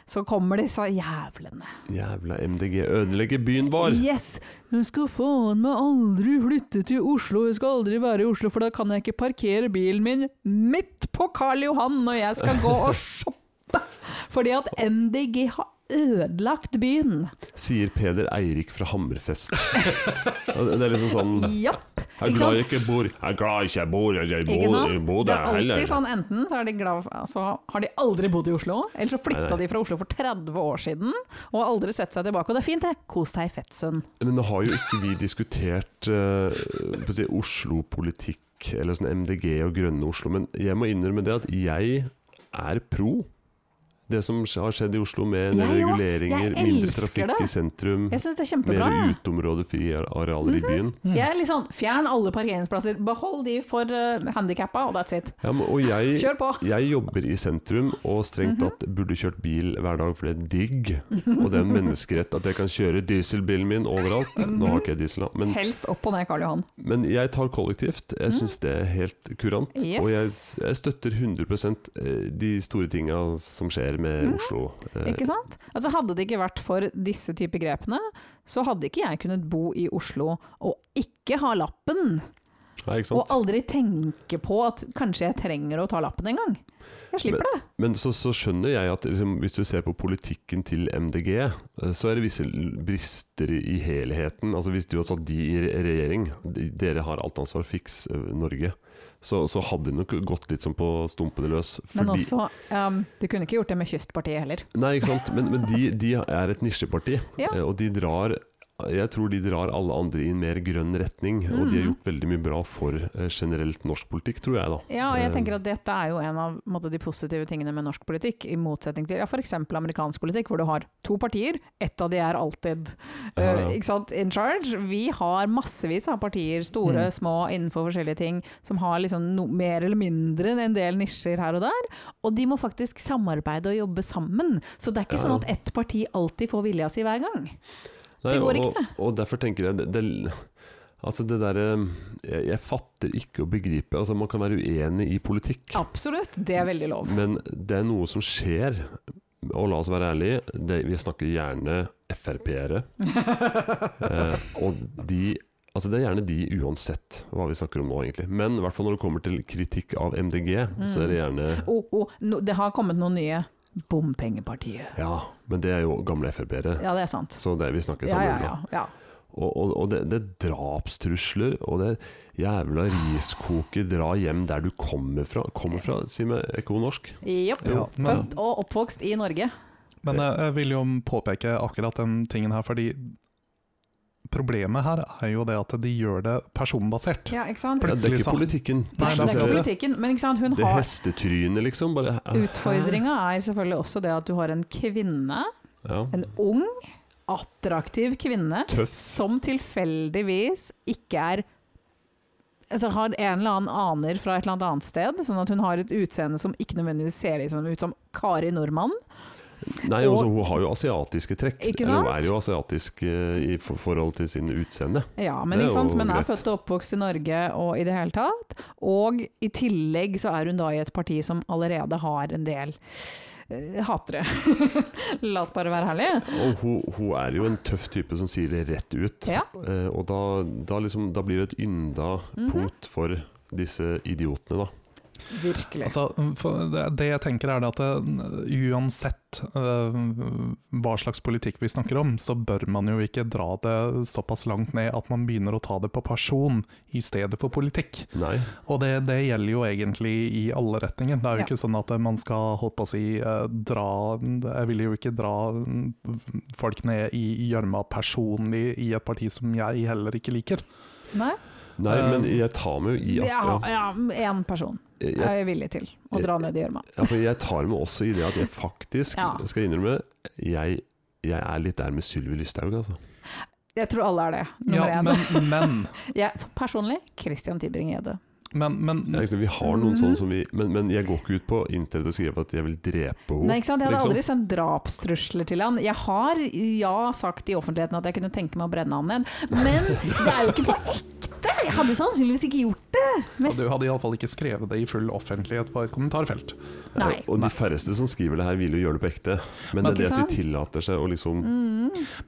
så kommer disse jævlene.
Jævla MDG ødelegger byen vår!
Yes! Jeg skal faen meg aldri flytte til Oslo, jeg skal aldri være i Oslo, for da kan jeg ikke parkere bilen min midt på Karl Johan når jeg skal gå og shoppe! Fordi at MDG har ødelagt byen.
Sier Peder Eirik fra Hammerfest. Ja, det er liksom sånn
Japp.
Jeg er glad jeg ikke bor Jeg er glad jeg ikke bor Jeg
Ikke
bor, jeg
sant?
bor
Det
der
er alltid
heller.
sånn, enten så, er de glad, så har de aldri bodd i Oslo, eller så flytta
Nei, nei.
de fra Oslo for 30 år siden og har aldri sett seg tilbake. Og det er fint, det. Kos deg i Fettsund.
Men nå har jo ikke vi diskutert eh, på å si, Oslo-politikk eller sånn MDG og grønne Oslo, men jeg må innrømme det at jeg er pro det som har skjedd i Oslo med en del
Jeg òg.
reguleringer,
Jeg
mindre
elsker
trafikk
det.
i sentrum,
Jeg syns det er
mer
kjempebra. jeg. Mhm.
uteområdefrie arealer i byen.
Jeg er litt sånn fjern alle parkeringsplasser, behold de for uh, handikappa, og that's it.
Ja, men, og jeg
Kjør Mhm. på!
Jeg jobber i sentrum, og strengt tatt burde kjørt bil hver dag, for det er digg. Og det er en menneskerett at jeg kan kjøre dieselbilen min overalt. Nå har ikke jeg diesel, da, men,
Helst opp og ned Karl Johan.
men jeg tar kollektivt. Jeg syns det er helt kurant.
Mm. Yes.
Og jeg, jeg støtter 100 eh, de store tinga som skjer med
Mhm.
Oslo. eh,
Ikke sant? Altså Hadde det ikke vært for disse typer grepene, så hadde ikke jeg kunnet bo i Oslo og ikke ha lappen.
Nei, ikke sant?
Og aldri tenke på at kanskje jeg trenger å ta lappen en gang. Jeg slipper det.
Men så, så skjønner jeg at liksom, hvis du ser på politikken til MDG, eh, så er det visse l- brister i helheten. Altså Hvis du hadde satt de i re- regjering, de, dere har alt ansvar, fiks eh, Norge, så, så hadde det nok gått litt sånn på stumpene løs.
Men
fordi-
også, um, du kunne ikke gjort det med Kystpartiet heller.
Nei, ikke sant. Men, men de, de er et nisjeparti,
Ja.
eh, og de drar jeg tror de drar alle andre i en mer grønn retning, og de har
Mhm.
gjort veldig mye bra for eh, generelt norsk politikk, tror jeg da.
Ja, og jeg
Eh,
tenker at dette er jo en av på en måte, de positive tingene med norsk politikk, i motsetning til ja, f.eks. amerikansk politikk, hvor du har to partier, ett av de er alltid
Ja, ja.
eh, ikke sant, in charge. Vi har massevis av partier, store,
Mm.
små, innenfor forskjellige ting, som har liksom no, mer eller mindre en del nisjer her og der, og de må faktisk samarbeide og jobbe sammen. Så det er ikke
Ja, ja.
sånn at ett parti alltid får vilja si hver gang.
Nei,
Det går
og, Og derfor tenker jeg det, det, Altså det derre jeg, jeg fatter ikke å begripe. Altså Man kan være uenig i politikk,
Absolutt, det er veldig lov.
men det er noe som skjer. Og la oss være ærlige, det, vi snakker gjerne Frp-ere. Eh, og de Altså Det er gjerne de uansett hva vi snakker om nå, egentlig. Men i hvert fall når det kommer til kritikk av MDG, så er det gjerne
Oh, oh, no, det har kommet noen nye. Bompengepartiet.
Ja, men det er jo gamle Frp-ere.
Ja, det er sant.
Så det vi snakker
Ja,
sammen
ja,
om nå.
ja. ja.
Og, og, og det, det er drapstrusler, og det er jævla riskoker, dra hjem der du kommer fra. Kommer fra, si meg, er ikke hun norsk?
Jepp.
Ja, men- eh,
Født og oppvokst i Norge.
Men jeg, jeg vil jo påpeke akkurat den tingen her, fordi problemet her er jo det at de gjør det personbasert.
Ja, ikke sant?
Ja, det er
Plutselig
ikke
så-
politikken.
Nei,
Det er ikke
Plutselig
politikken, men ikke sant?
så er
hun
det
har
hestetrynet, liksom. Bare
Utfordringa er selvfølgelig også det at du har en kvinne,
Ja.
en ung, attraktiv kvinne,
Tøff.
som tilfeldigvis ikke er Altså har en eller annen aner fra et eller annet annet sted, sånn at hun har et utseende som ikke nødvendigvis ser liksom ut som Kari Nordmann.
Nei,
Og-
altså, hun har jo asiatiske trekk.
Ikke
Eller Hun
sant?
er jo asiatisk eh, i for forhold til sin utseende.
Ja, men
Det er
ikke sant?
jo
Men er
greit.
født og oppvokst i Norge og i det hele tatt. Og i tillegg så er hun da i et parti som allerede har en del eh, hatere. La oss bare være ærlige.
Og hun, hun er jo en tøff type som sier det rett ut.
Ja.
Eh, og da, da, liksom, da blir det et ynda
Mhm.
punkt for disse idiotene, da.
Virkelig.
Altså, for det, det jeg tenker er det at det, uansett øh, hva slags politikk vi snakker om, så bør man jo ikke dra det såpass langt ned at man begynner å ta det på person i stedet for politikk.
Nei.
Og det, det gjelder jo egentlig i alle retninger. Det er jo
Ja.
ikke sånn at man skal holdt på å si eh, dra Jeg vil jo ikke dra mm, folk ned i gjørma personlig i et parti som jeg heller ikke liker.
Nei?
Nei,
Eh,
men jeg tar meg jo i at
Ja,
ja,
ja, én person
jeg,
er jeg villig til å dra ned i gjørma.
ja, for jeg tar meg også i det at jeg faktisk
Ja.
skal innrømme jeg, jeg er litt der med Sylvi Lysthaug, altså.
Jeg tror alle er det,
Ja,
nummer én.
men, men,
Jeg, personlig Christian Tybring-Gjedde.
men, men
Ja, ikke sant, liksom, vi har noen
Mhm.
sånne som vi Men, men jeg går ikke ut på internett og skriver at jeg vil drepe henne.
Nei, ikke sant? Jeg hadde
liksom.
aldri sendt drapstrusler til han. Jeg har ja sagt i offentligheten at jeg kunne tenke meg å brenne han ned, men det er jo ikke på ekte! Jeg hadde sannsynligvis ikke gjort det.
Og
Mest.
du hadde iallfall ikke skrevet det i full offentlighet på et kommentarfelt.
Nei.
Eh, Og de færreste som skriver det her, vil jo gjøre det på ekte. Men det
Men
er
ikke
det at
sant? Mm.
de tillater seg å liksom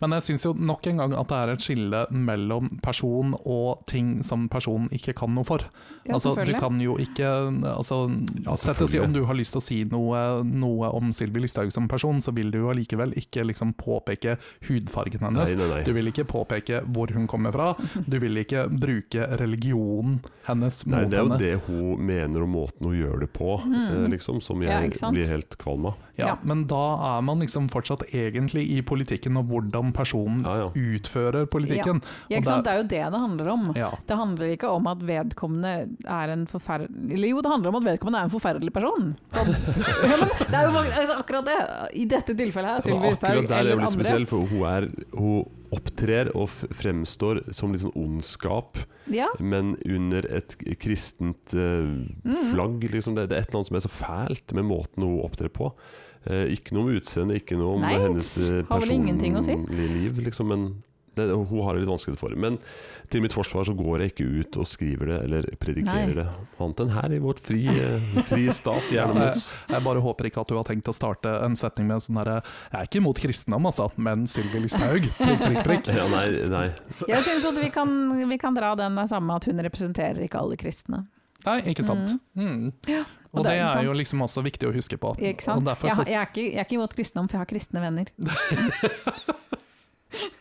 Men jeg syns jo nok en gang at det er et skille mellom person og ting som personen ikke kan noe for.
Ja,
altså, du
selvfølgelig.
kan jo ikke altså,
Ja,
sett å si
selvfølgelig.
Om du har lyst til å si noe, noe om Sylvi Lysthaug som person, så vil du jo allikevel ikke liksom påpeke hudfargen
Nei,
hennes.
nei, nei.
Du vil ikke påpeke hvor hun kommer fra, du vil ikke bruke religionen hennes
Nei,
mot
det er jo
henne.
det hun mener om måten hun gjør det på, eh, liksom, som
Mm. Ja,
jeg
ikke sant?
blir helt kvalm av.
Ja,
Ja.
Men da er man liksom fortsatt egentlig i politikken og hvordan
Mm.
personen
Ja, ja.
utfører politikken.
Ja,
Og
ikke sant? Det er jo det det handler om.
Ja.
Det handler ikke om at vedkommende er en forferdelig Eller jo, det handler om at vedkommende er en forferdelig person. Ja, men det er jo faktisk- altså, akkurat det. I dette tilfellet
Altså,
her, Sylvi
Men
Listhaug
akkurat der er
eller
jo litt
andre.
spesiell, for hun, er, hun opptrer og f- fremstår som litt sånn ondskap,
Ja,
men under et k- kristent eh,
Mhm.
flagg. Liksom. Det, det er et eller annet som er så fælt med måten hun opptrer på. Eh, ikke noe om utseendet, ikke noe om
Nei,
hennes eh,
har vel ingenting å si.
personlige liv, liksom, men det, hun har det litt vanskelig for. Men til mitt forsvar så går jeg ikke ut og skriver det eller predikerer
Nei.
det, annet enn her i vårt fri, eh, fri stat.
Ja,
Gjerne med
jeg, jeg bare håper ikke at du har tenkt å starte en setning med sånn herre Jeg er ikke imot kristendom, altså, men Sylvi Listhaug prikk, prikk, prikk.
ja, nei, nei.
jeg syns at vi kan, vi kan dra den der samme at hun representerer ikke alle kristne.
Nei, ikke sant. Mm. Og,
Og det er
det
jo
er
sant.
jo liksom også viktig å huske på.
Ikke sant?
Og
Jeg,
derfor så,
har- jeg, er ikke, jeg er ikke imot kristendom, for jeg har kristne venner.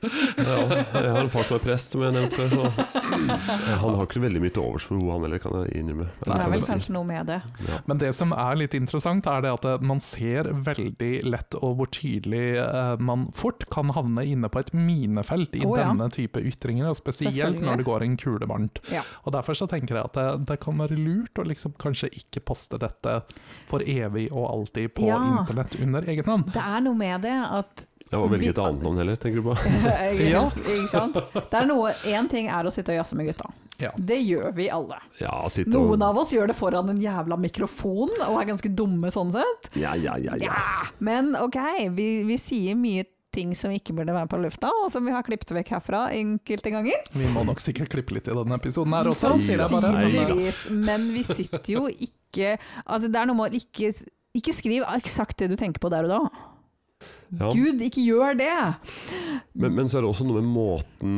Ja, jeg har en far som er prest, som jeg nevnte før. Så. Han har ikke veldig mye til overs for henne, han heller, kan jeg innrømme.
Det
Eller
er
kan
vel
jeg si.
kanskje noe med det.
Ja.
Men det som er litt interessant, er det at eh, man ser veldig lett og hvor tydelig eh, man fort kan havne inne på et minefelt i
Å, ja.
denne type ytringer, og spesielt
Selvfølgelig.
når det går en kule varmt.
Ja.
Og Derfor så tenker jeg at det, det kan være lurt å liksom kanskje ikke poste dette for evig og alltid på
Ja.
internett under eget navn.
Det er noe med det at
Ja, og velge et annet navn heller, tenker du på.
Ja.
Ikke sant? Det er noe Én ting er å sitte og jazze med gutta.
Ja.
Det gjør vi alle.
Ja, sitte og
Noen av oss gjør det foran en jævla mikrofon og er ganske dumme sånn sett.
Ja, ja, ja. ja.
Ja, men ok, vi, vi sier mye ting som ikke burde være på lufta, og som vi har klippet vekk herfra enkelte ganger.
Vi må nok sikkert klippe litt i denne episoden her også.
Sånn
sier jeg bare.
Nei da.
Sannsynligvis, men vi sitter jo ikke Altså, det er noe med å ikke ikke skriv eksakt det du tenker på der og da.
Ja.
Gud, ikke gjør det!
Men, men så er det også noe med måten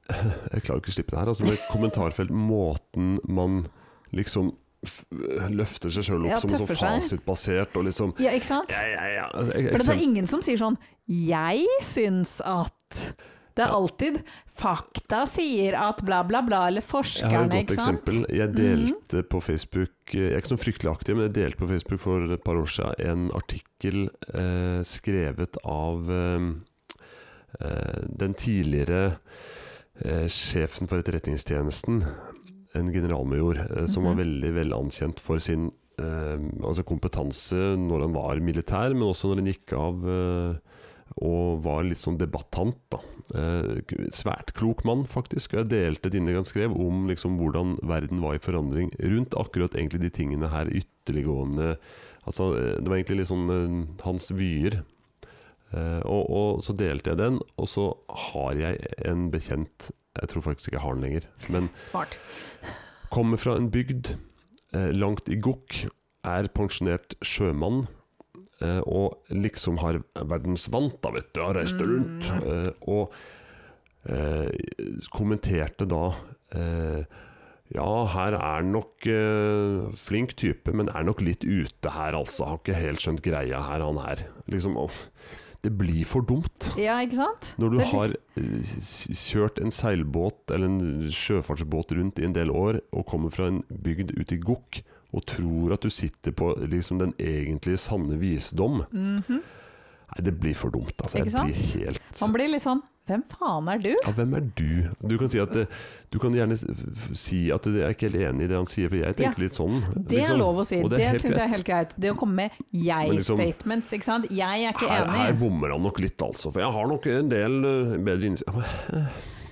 Jeg klarer ikke å slippe det her, altså med kommentarfelt. Måten man liksom f- løfter seg sjøl opp
Ja,
som en
tøffer
sånn
seg.
fasitbasert og liksom
Ja, ikke sant?
Ja, ja, ja. Altså, ek-
For det er
eksempel-
ingen som sier sånn 'jeg syns at' Det er alltid 'fakta sier at bla, bla, bla', eller
Jeg har et
forskerne,
godt
ikke sant? Mhm.
eksempel. Jeg delte på Facebook Jeg er ikke så fryktelig aktiv, men jeg delte på Facebook for et par år siden en artikkel eh, skrevet av eh, eh, den tidligere eh, sjefen for etterretningstjenesten, en generalmajor, eh, som var
Mhm.
veldig vel ankjent for sin eh, altså kompetanse når han var militær, men også når han gikk av eh, og var litt sånn debattant. da. Eh, k- svært klok mann, faktisk. Og jeg delte et innlegg han skrev om liksom, hvordan verden var i forandring rundt akkurat egentlig de tingene her ytterliggående altså, eh, Det var egentlig litt sånn eh, hans vyer. Eh, og, og så delte jeg den, og så har jeg en bekjent Jeg tror faktisk ikke jeg har den lenger. Men
Smart.
Kommer fra en bygd eh, langt i Gokk, er pensjonert sjømann. Eh, og liksom har verdensvant, da, vet du. Har reist rundt. Eh, og eh, kommenterte da eh, Ja, her er han nok eh, flink type, men er nok litt ute her, altså. Har ikke helt skjønt greia her, han her. Liksom, åh, det blir for dumt.
Ja, ikke sant?
Når du
Det er
har eh, s- kjørt en seilbåt eller en sjøfartsbåt rundt i en del år, og kommer fra en bygd ute i Gokk, og tror at du sitter på liksom, den egentlige sanne visdom
Mhm.
Nei, det blir for dumt. Altså.
Ikke
Jeg
sant?
blir helt
Man blir litt sånn Hvem faen er du?
ja, hvem er du? Du kan, si at, eh, du kan gjerne s- f- si at du er ikke helt enig i det han sier, for jeg
Ja.
tenker litt sånn.
Det er
liksom.
lov å si.
Og
Det,
det er helt
syns jeg er
greit.
helt greit. Det å komme med
liksom-
jeg-statements, ikke sant. Jeg er ikke
Her, her
enig.
bommer han nok litt, altså. For jeg har nok en del eh, bedre innsikt.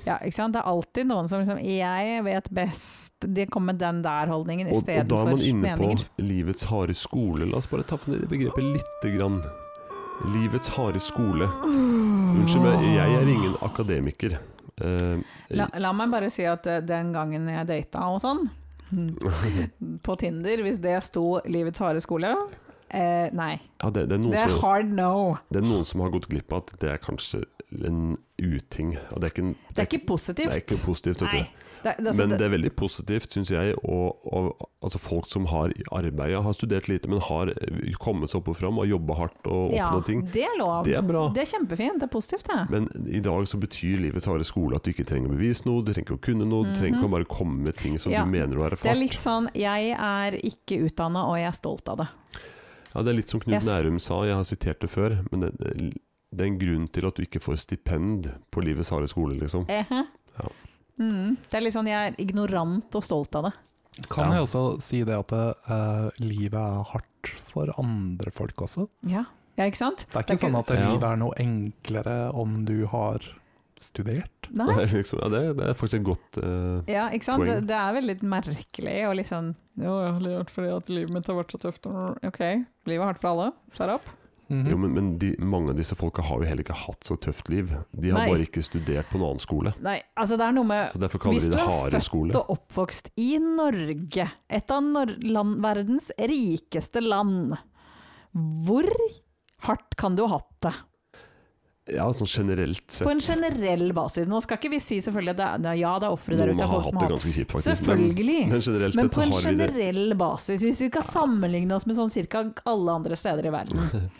Ja, ikke sant? Det er alltid noen som liksom Jeg vet best. De kommer med den der holdningen
Og, og da er
istedenfor
man inne på
meninger.
livets harde skole. La oss bare ta for det begrepet lite grann. Livets harde skole. Unnskyld meg, jeg er ingen akademiker. Eh,
La, la meg bare si at eh, den gangen jeg data og sånn, mm, på Tinder, hvis det sto 'livets harde skole' eh, Nei.
ja, det, det, er
Det
noen
er
som,
hard no.
det er noen som har gått glipp av at det er kanskje en uting. Ja, det, er ikke, en-
Det er
det
ikke
er
positivt.
ikke positivt. Vet du.
Nei. Det- det- altså,
Men
det-
det er veldig positivt, syns jeg. Og, og, altså folk som har arbeidet, har studert lite, men har eh, kommet seg opp og fram og jobba hardt og oppnådd
ja,
ting.
det er lov.
Det er bra.
Det er kjempefint. Det er positivt, det.
Men i dag så betyr livets harde skole at du ikke trenger å bevise noe, du trenger ikke å kunne noe, du trenger ikke å bare komme med ting som
Mhm. Ja.
du mener du har
Det er
erfart.
litt sånn Jeg er ikke utdanna, og jeg er stolt av det.
ja, det er litt som Knut
Yes.
Nærum sa, jeg har sitert det før, men det, det er en grunn til at du ikke får stipend på livets harde skole, liksom.
Eh-hæ.
Ja.
Mm, det er litt sånn Jeg er ignorant og stolt av det.
Kan
Ja.
jeg også si det at eh, livet er hardt for andre folk også?
Ja, ikke sant?
Det er ikke
Det er
sånn
ikke-
at det
Ja.
livet er noe enklere om du har studert.
Nei.
liksom ja, det, det er faktisk et godt eh,
Ja, ikke sant? Det,
Poeng.
det er veldig merkelig og litt sånn Ja, jeg har lært fordi at livet mitt har vært så tøft. Ok, livet er hardt for alle. Shut up.
Mhm.
Jo, men, men de, mange av disse folka har jo heller ikke hatt så tøft liv. De har
Nei.
bare ikke studert på noen annen skole.
Nei, altså det er noe med
Så derfor kaller
Hvis
vi det
du er
harde
født
skole.
og oppvokst i Norge, et av nor land, verdens rikeste land. Hvor hardt kan du ha hatt det?
Ja, sånn generelt
På
sett.
en generell basis. Nå skal ikke vi si selvfølgelig at det er, ja, det er ofre der
Noen
ute,
har
folk
hatt
som
det
har hatt
ganske kjipt, faktisk. Men,
Selvfølgelig.
men generelt
Men
sett
på
så
en
har vi det.
generell basis, hvis vi skal sammenligne oss med sånn cirka alle andre steder i verden.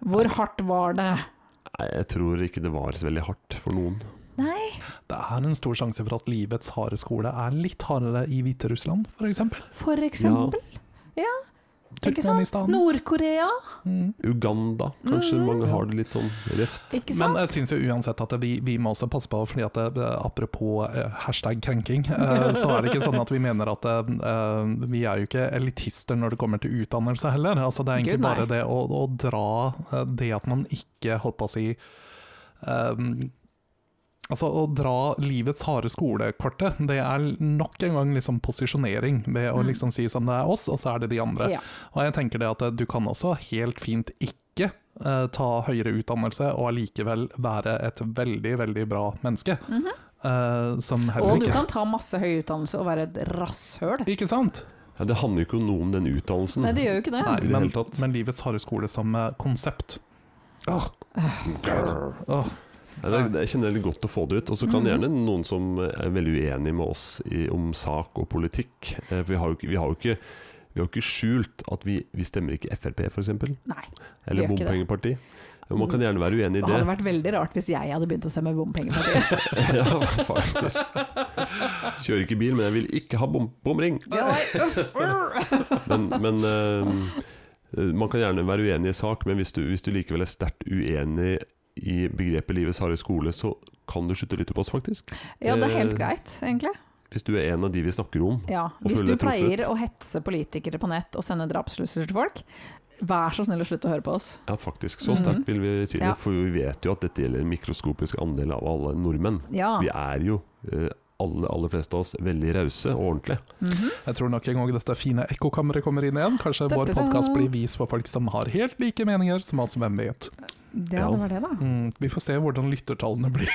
Hvor hardt var det?
Nei, jeg tror ikke det var så veldig hardt for noen.
Det er en stor sjanse for at livets harde skole er litt hardere i Hviterussland, f.eks.
For eksempel Ikke sant?
Turkmenistan.
Nord-Korea,
Mhm.
Uganda, kanskje
Mm.
mange har det litt sånn røft.
ikke
Men
sant?
jeg syns jo uansett at vi, vi må også passe på, fordi at det, apropos eh, hashtag krenking, eh, så er det ikke sånn at vi mener at eh, vi er jo ikke elitister når det kommer til utdannelse heller. Altså Det er egentlig
Gud, nei.
bare det å, å dra eh, det at man ikke, holdt på å si eh, Altså Å dra livets harde skolekortet, det er nok en gang liksom posisjonering. Ved å
Mm.
liksom si sånn det er oss, og så er det de andre.
Ja.
Og jeg tenker det at eh, du kan også helt fint ikke eh, ta høyere utdannelse og allikevel være et veldig, veldig bra menneske.
Mhm.
eh, som heller
Og du
ikke
kan ta masse høy utdannelse og være et rasshøl.
Ikke sant?
Ja, det handler jo ikke noe om den utdannelsen.
Nei, det gjør jo ikke det.
Nei,
i det
men,
hele tatt.
men livets harde skole som eh, konsept. Åh,
Grr.
åh.
Nei, det, er- jeg kjenner det er godt å få det ut. Og så
Mhm.
kan gjerne noen som er veldig uenig med oss i, om sak og politikk eh, For vi har jo, ikke- vi har jo ikke vi har jo ikke skjult at vi, vi stemmer ikke Frp, f.eks.,
Nei.
eller
Vi gjør ikke det. Mm.
bompengeparti. Og man kan gjerne være uenig i
Det
det.
hadde vært veldig rart hvis jeg hadde begynt å stemme bompengepartiet.
ja, faktisk. Kjører ikke bil, men jeg vil ikke ha bom bomring.
Ja, nei, uff, urr.
Men, men eh, eh, man kan gjerne være uenig i sak, men hvis du, hvis du likevel er sterkt uenig i begrepet livets harde skole, så kan du slutte å lytte på oss, faktisk.
Ja, det er helt
Eh,
greit, egentlig.
Hvis du er en av de vi snakker om.
Ja,
Og
Hvis
føler
du
deg truffet.
pleier å hetse politikere på nett og sende drapstrusler til folk, vær så snill å slutte å høre på oss.
Ja, faktisk. Så sterkt vil vi si det.
Mhm. Ja.
For vi vet jo at dette gjelder en mikroskopisk andel av alle nordmenn.
Ja.
Vi er jo eh, alle, aller fleste av oss veldig rause og ordentlige.
Mhm.
Jeg tror nok en gang dette fine ekkokammeret kommer inn igjen. Kanskje vår
Da-da-da.
podkast blir vist for folk som har helt like meninger som oss, hvem vet.
ja,
Ja.
det var det, da.
Mm, vi får se hvordan lyttertallene blir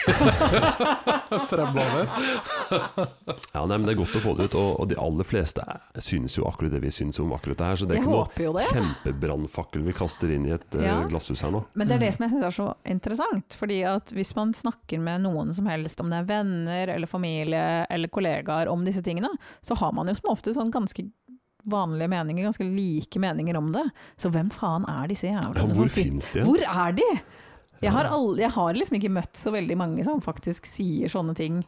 fremover.
Ja, nei, men Det er godt å få det ut, og, og de aller fleste er- synes jo akkurat det vi synes om akkurat det her. Så det er
Jeg
ikke noe
håper jo det.
kjempebrannfakkel vi kaster inn i et eh,
Ja.
glasshus her nå.
Men det er det som jeg syns er så interessant. fordi at hvis man snakker med noen som helst, om det er venner eller familie eller kollegaer, om disse tingene, så har man jo som ofte sånn ganske vanlige meninger, ganske like meninger om det. Så hvem faen er disse
Ja,
jævlene
hvor
som sitter
finnes de?
Hvor er de?! Jeg har,
Ja.
aldri, jeg har liksom ikke møtt så veldig mange som faktisk sier sånne ting.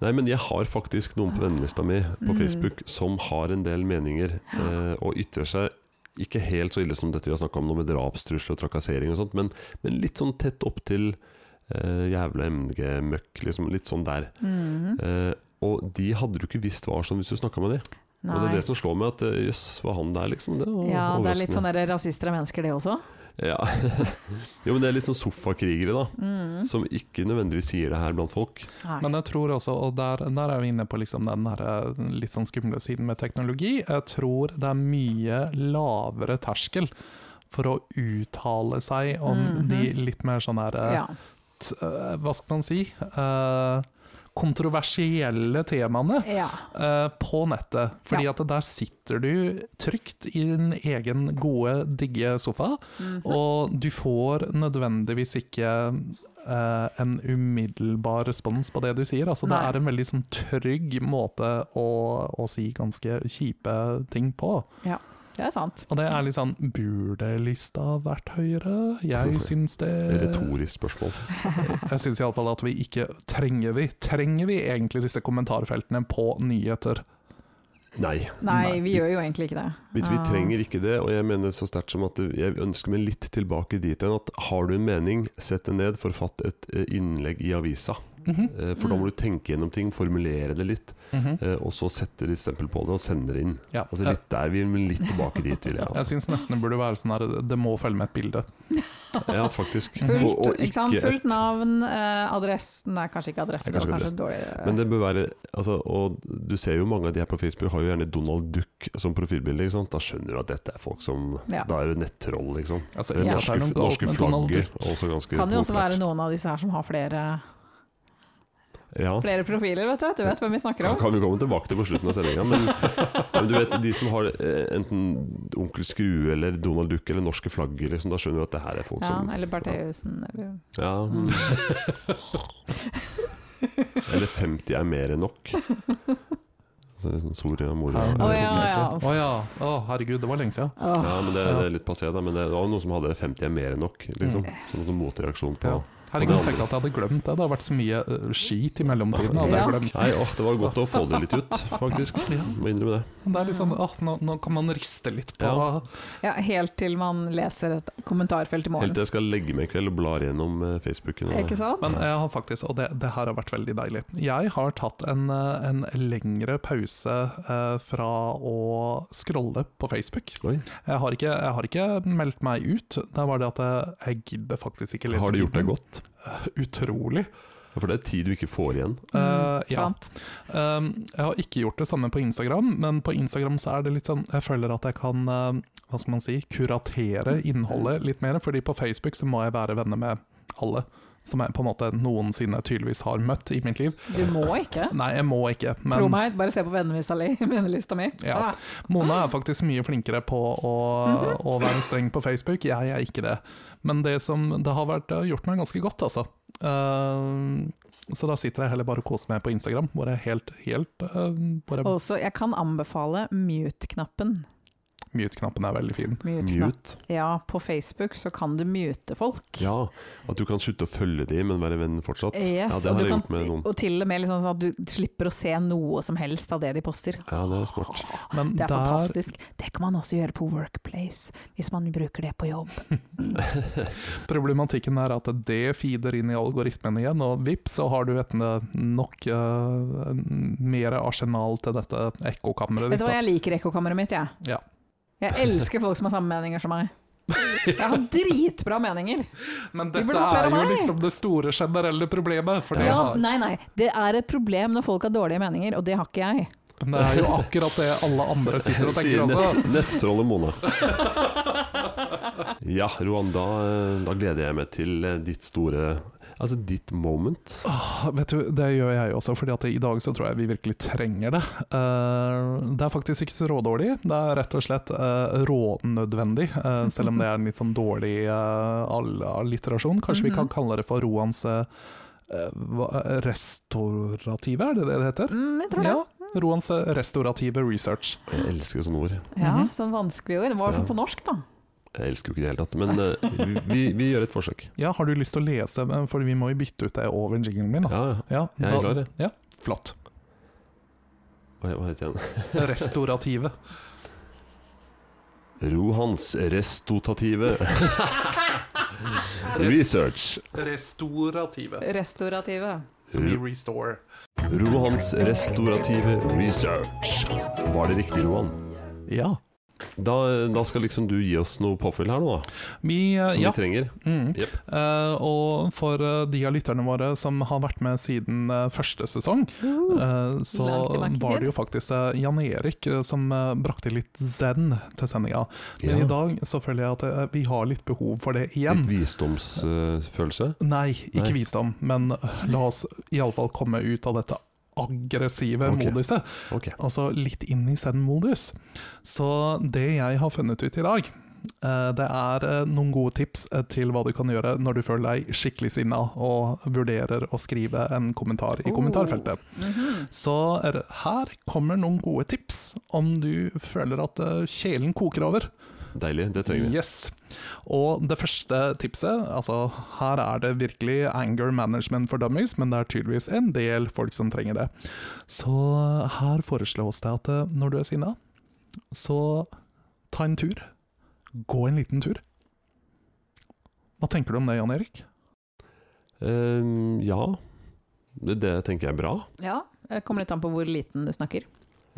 Nei, men jeg har faktisk noen på vennelista mi på
Mm.
Facebook som har en del meninger, eh, og ytrer seg ikke helt så ille som dette vi har snakka om nå, med drapstrusler og trakassering og sånt, men, men litt sånn tett opp til eh, jævla MDG-møkk, liksom. Litt sånn der.
Mhm.
Eh, og de hadde du ikke visst var sånn hvis du snakka med de. Og det
Nei.
er det som slår meg, at eh, jøss, var han der, liksom? Det var
ja, det er
overraskende.
litt sånn der rasister er mennesker, det også.
Ja. jo, men det er litt sånn sofakrigere, da.
Mhm.
Som ikke nødvendigvis sier det her blant folk.
Nei.
Men jeg tror også, og der, der er vi inne på liksom den her eh, litt sånn skumle siden med teknologi, jeg tror det er mye lavere terskel for å uttale seg om
Mhm.
de litt mer sånn her eh,
ja.
t- eh, Hva skal man si? Eh, kontroversielle temaene.
ja.
eh, på nettet. Fordi at der sitter du trygt i din egen gode, digge sofa,
Mhm.
og du får nødvendigvis ikke eh, en umiddelbar respons på det du sier. Altså, det
Nei.
er en veldig sånn, trygg måte å, å si ganske kjipe ting på.
Det er sant.
Og det er litt sånn Burde lista vært høyere? Jeg syns det
Øh.
Retorisk spørsmål.
Jeg syns iallfall at vi ikke trenger vi. Trenger vi egentlig disse kommentarfeltene på nyheter?
Nei.
Nei,
Nei.
vi gjør jo egentlig ikke det.
Vi, vi
Ah.
trenger ikke det, og jeg mener så sterkt som at jeg ønsker meg litt tilbake dit igjen. At har du en mening, sett det ned, forfatt et eh, innlegg i avisa.
Mhm,
Eh, For da
Mm.
må du tenke gjennom ting, formulere det litt,
mhm.
eh, og så sette ditt stempel på det og sende det inn.
Ja.
Altså litt der, vi men litt tilbake dit, vil jeg.
Jeg
Altså.
syns nesten det burde være sånn her Det må følge med et bilde.
Ja, faktisk.
Fullt,
Og- og
Mhm. ikke sant?
ikke et-
Fullt navn, eh, adressen Nei, kanskje ikke adressen.
Nei,
det
kanskje
var
ikke
kanskje dårlig.
Men det bør være altså, Og du ser jo mange av de her på Facebook har jo gjerne Donald Duck som profilbilde. ikke sant? Da skjønner du at dette er folk som
Ja.
Da er det nettroll, liksom.
Altså,
Det
ikke at det
norske,
er noe galt
norske
med Donald
flagget er også ganske
kan jo også
populært.
være noen av disse her som har flere,
ja.
flere profiler, vet du. Du vet hvem vi snakker om?
Kan vi komme tilbake til på slutten av sendinga, men, men du vet de som har eh, enten Onkel Skrue eller Donald Duck eller norske flagg, liksom, da skjønner du at det her er folk
Ja,
som
eller Bertheussen, eller
ja,
Mm.
Eller 50 er mer enn nok. Altså, liksom, Soria Moria
Her-
Å, ja, ja.
Å ja. Å, herregud, det var lenge siden.
Åh,
Ja, men det, det er litt passé, da. Men det var jo noen som hadde 50 er mer enn nok, liksom. Som en motreaksjon på
Ja. Herregud, tenkte jeg at jeg hadde glemt det. Det har vært så mye eh, skit i mellomtiden. Hadde jeg
Ja.
glemt.
Nei, åh, det var godt å få det litt ut, faktisk. Må innrømme det.
Men Det er litt sånn, åh, nå, nå kan man riste litt på
Ja.
ja, helt til man leser et kommentarfelt i
Helt
morgen.
til jeg skal legge meg i kveld og blar gjennom eh, Facebooken. og-
Ikke sant?
Men eh, jeg har faktisk, og det, det her har vært veldig deilig Jeg har tatt en, eh, en lengre pause eh, fra å scrolle på Facebook.
Oi,
Jeg har, ikke, jeg har ikke meldt meg ut. Det er bare det at jeg, jeg gidder faktisk ikke lese
har det gjort deg
feeden.
godt?
Utrolig.
Ja, for det er tid du ikke får igjen.
Eh, ja.
Mm, Sant?
Um, jeg har ikke gjort det samme på Instagram, men på Instagram så er det litt sånn Jeg føler at jeg kan um, hva skal man si, kuratere innholdet litt mer, fordi på Facebook så må jeg være venner med alle. Som jeg på en måte noensinne tydeligvis har møtt i mitt liv.
Du må ikke.
Nei, jeg må ikke,
Tro
men
meg, bare se på vennelista li- vennelista mi.
Ja.
Ah,
Mona er faktisk mye flinkere på å,
Mhm.
å være streng på Facebook. Jeg er ikke det. Men det som det har, vært, det har gjort meg ganske godt, altså. Um, så da sitter jeg heller bare og koser meg på Instagram, eh, hvor jeg helt, helt um, hvor jeg,
Også, jeg kan anbefale mute-knappen.
Mute-knappen er veldig fin.
Mute.
Mute.
Ja, på Facebook så kan du mute folk.
Ja, at du kan slutte å følge de, men være venn fortsatt. ja,
Yes,
det
og,
har
du
jeg
kan,
gjort med noen.
og til og med liksom sånn at du slipper å se noe som helst av det de poster.
Ja, det er smart.
Men
Det er
der,
fantastisk. Det kan man også gjøre på Workplace, hvis man bruker det på jobb.
problematikken er at det feeder inn i algoritmen igjen, og vips, så har du et eh, nok eh, mer arsenal til dette ekkokammeret
Vet
ditt.
du hva,
da.
jeg liker ekkokammeret mitt, jeg.
Ja.
Jeg elsker folk som har samme meninger som meg. Jeg har dritbra meninger.
Men
Vi
dette
burde ha flere
er
av
jo
meg.
liksom det store generelle problemet. For det,
Ja,
har-
nei, nei. Det er et problem når folk har dårlige meninger, og det har ikke jeg.
det er jo akkurat det alle andre sitter og tenker
Sier
også.
nett, nettrollet Mona. Ja, Roan, da, eh, da gleder jeg meg til eh, ditt store Altså ditt moment.
Ah, Vet du, Det gjør jeg også, Fordi at i dag så tror jeg vi virkelig trenger det. Eh, det er faktisk ikke så rådårlig, det er rett og slett eh, rånødvendig. eh, selv om det er en litt sånn dårlig eh, all- alliterasjon. Kanskje vi kan kalle det for Roans eh, hva- eh, restaurative, er det det det heter?
Mm, jeg tror det.
Ja, Roans eh, restaurative research.
Jeg elsker sånne ord.
Ja,
Mhm.
Sånn vanskelige ord. Det var i hvert fall på norsk, da.
Jeg elsker jo ikke det i det hele tatt, men eh, vi, vi gjør et forsøk.
Ja, Har du lyst til å lese, Eh, for vi må jo bytte ut det over jinglen min. da.
Ja, ja. jeg
Ja,
er
da-
klar, jeg.
Ja, flott.
Hva hva heter den?
Restaurative.
Rohans restotative research.
Restaurative.
Restaurative.
Som i restore.
Rohans restorative research. Var det riktig, Rohan?
Ja.
Da, da skal liksom du gi oss noe påfyll her nå, da,
Vi, eh,
som
ja.
vi trenger.
Mm.
Jep.
Eh, og for eh, de av lytterne våre som har vært med siden eh, første sesong, eh, så
Mm. Langt tilbake i
var
tid.
det jo faktisk eh, Jan Erik eh, som eh, brakte litt zen til sendinga. Men
Ja.
i dag så føler jeg at eh, vi har litt behov for det igjen.
Litt visdomsfølelse.
Nei, ikke
Nei.
visdom, men eh, la oss iallfall komme ut av dette aggressive
Ok.
moduset.
Ok.
altså litt inn i Zen-modus. Så det jeg har funnet ut i dag, eh, det er eh, noen gode tips eh, til hva du kan gjøre når du føler deg skikkelig sinna og vurderer å skrive en kommentar i
Oh.
kommentarfeltet.
Mhm.
Så er det, her kommer noen gode tips om du føler at eh, kjelen koker over.
Deilig. Det trenger vi.
Yes. Og det første tipset, altså her er det virkelig anger management for dummies, men det er tydeligvis en del folk som trenger det. Så her foreslås det at eh, når du er sinna, så ta en tur. Gå en liten tur. Hva tenker du om det, Jan Erik?
Ehm, ja. Det, det tenker jeg er bra.
Ja. Det kommer litt an på hvor liten du snakker.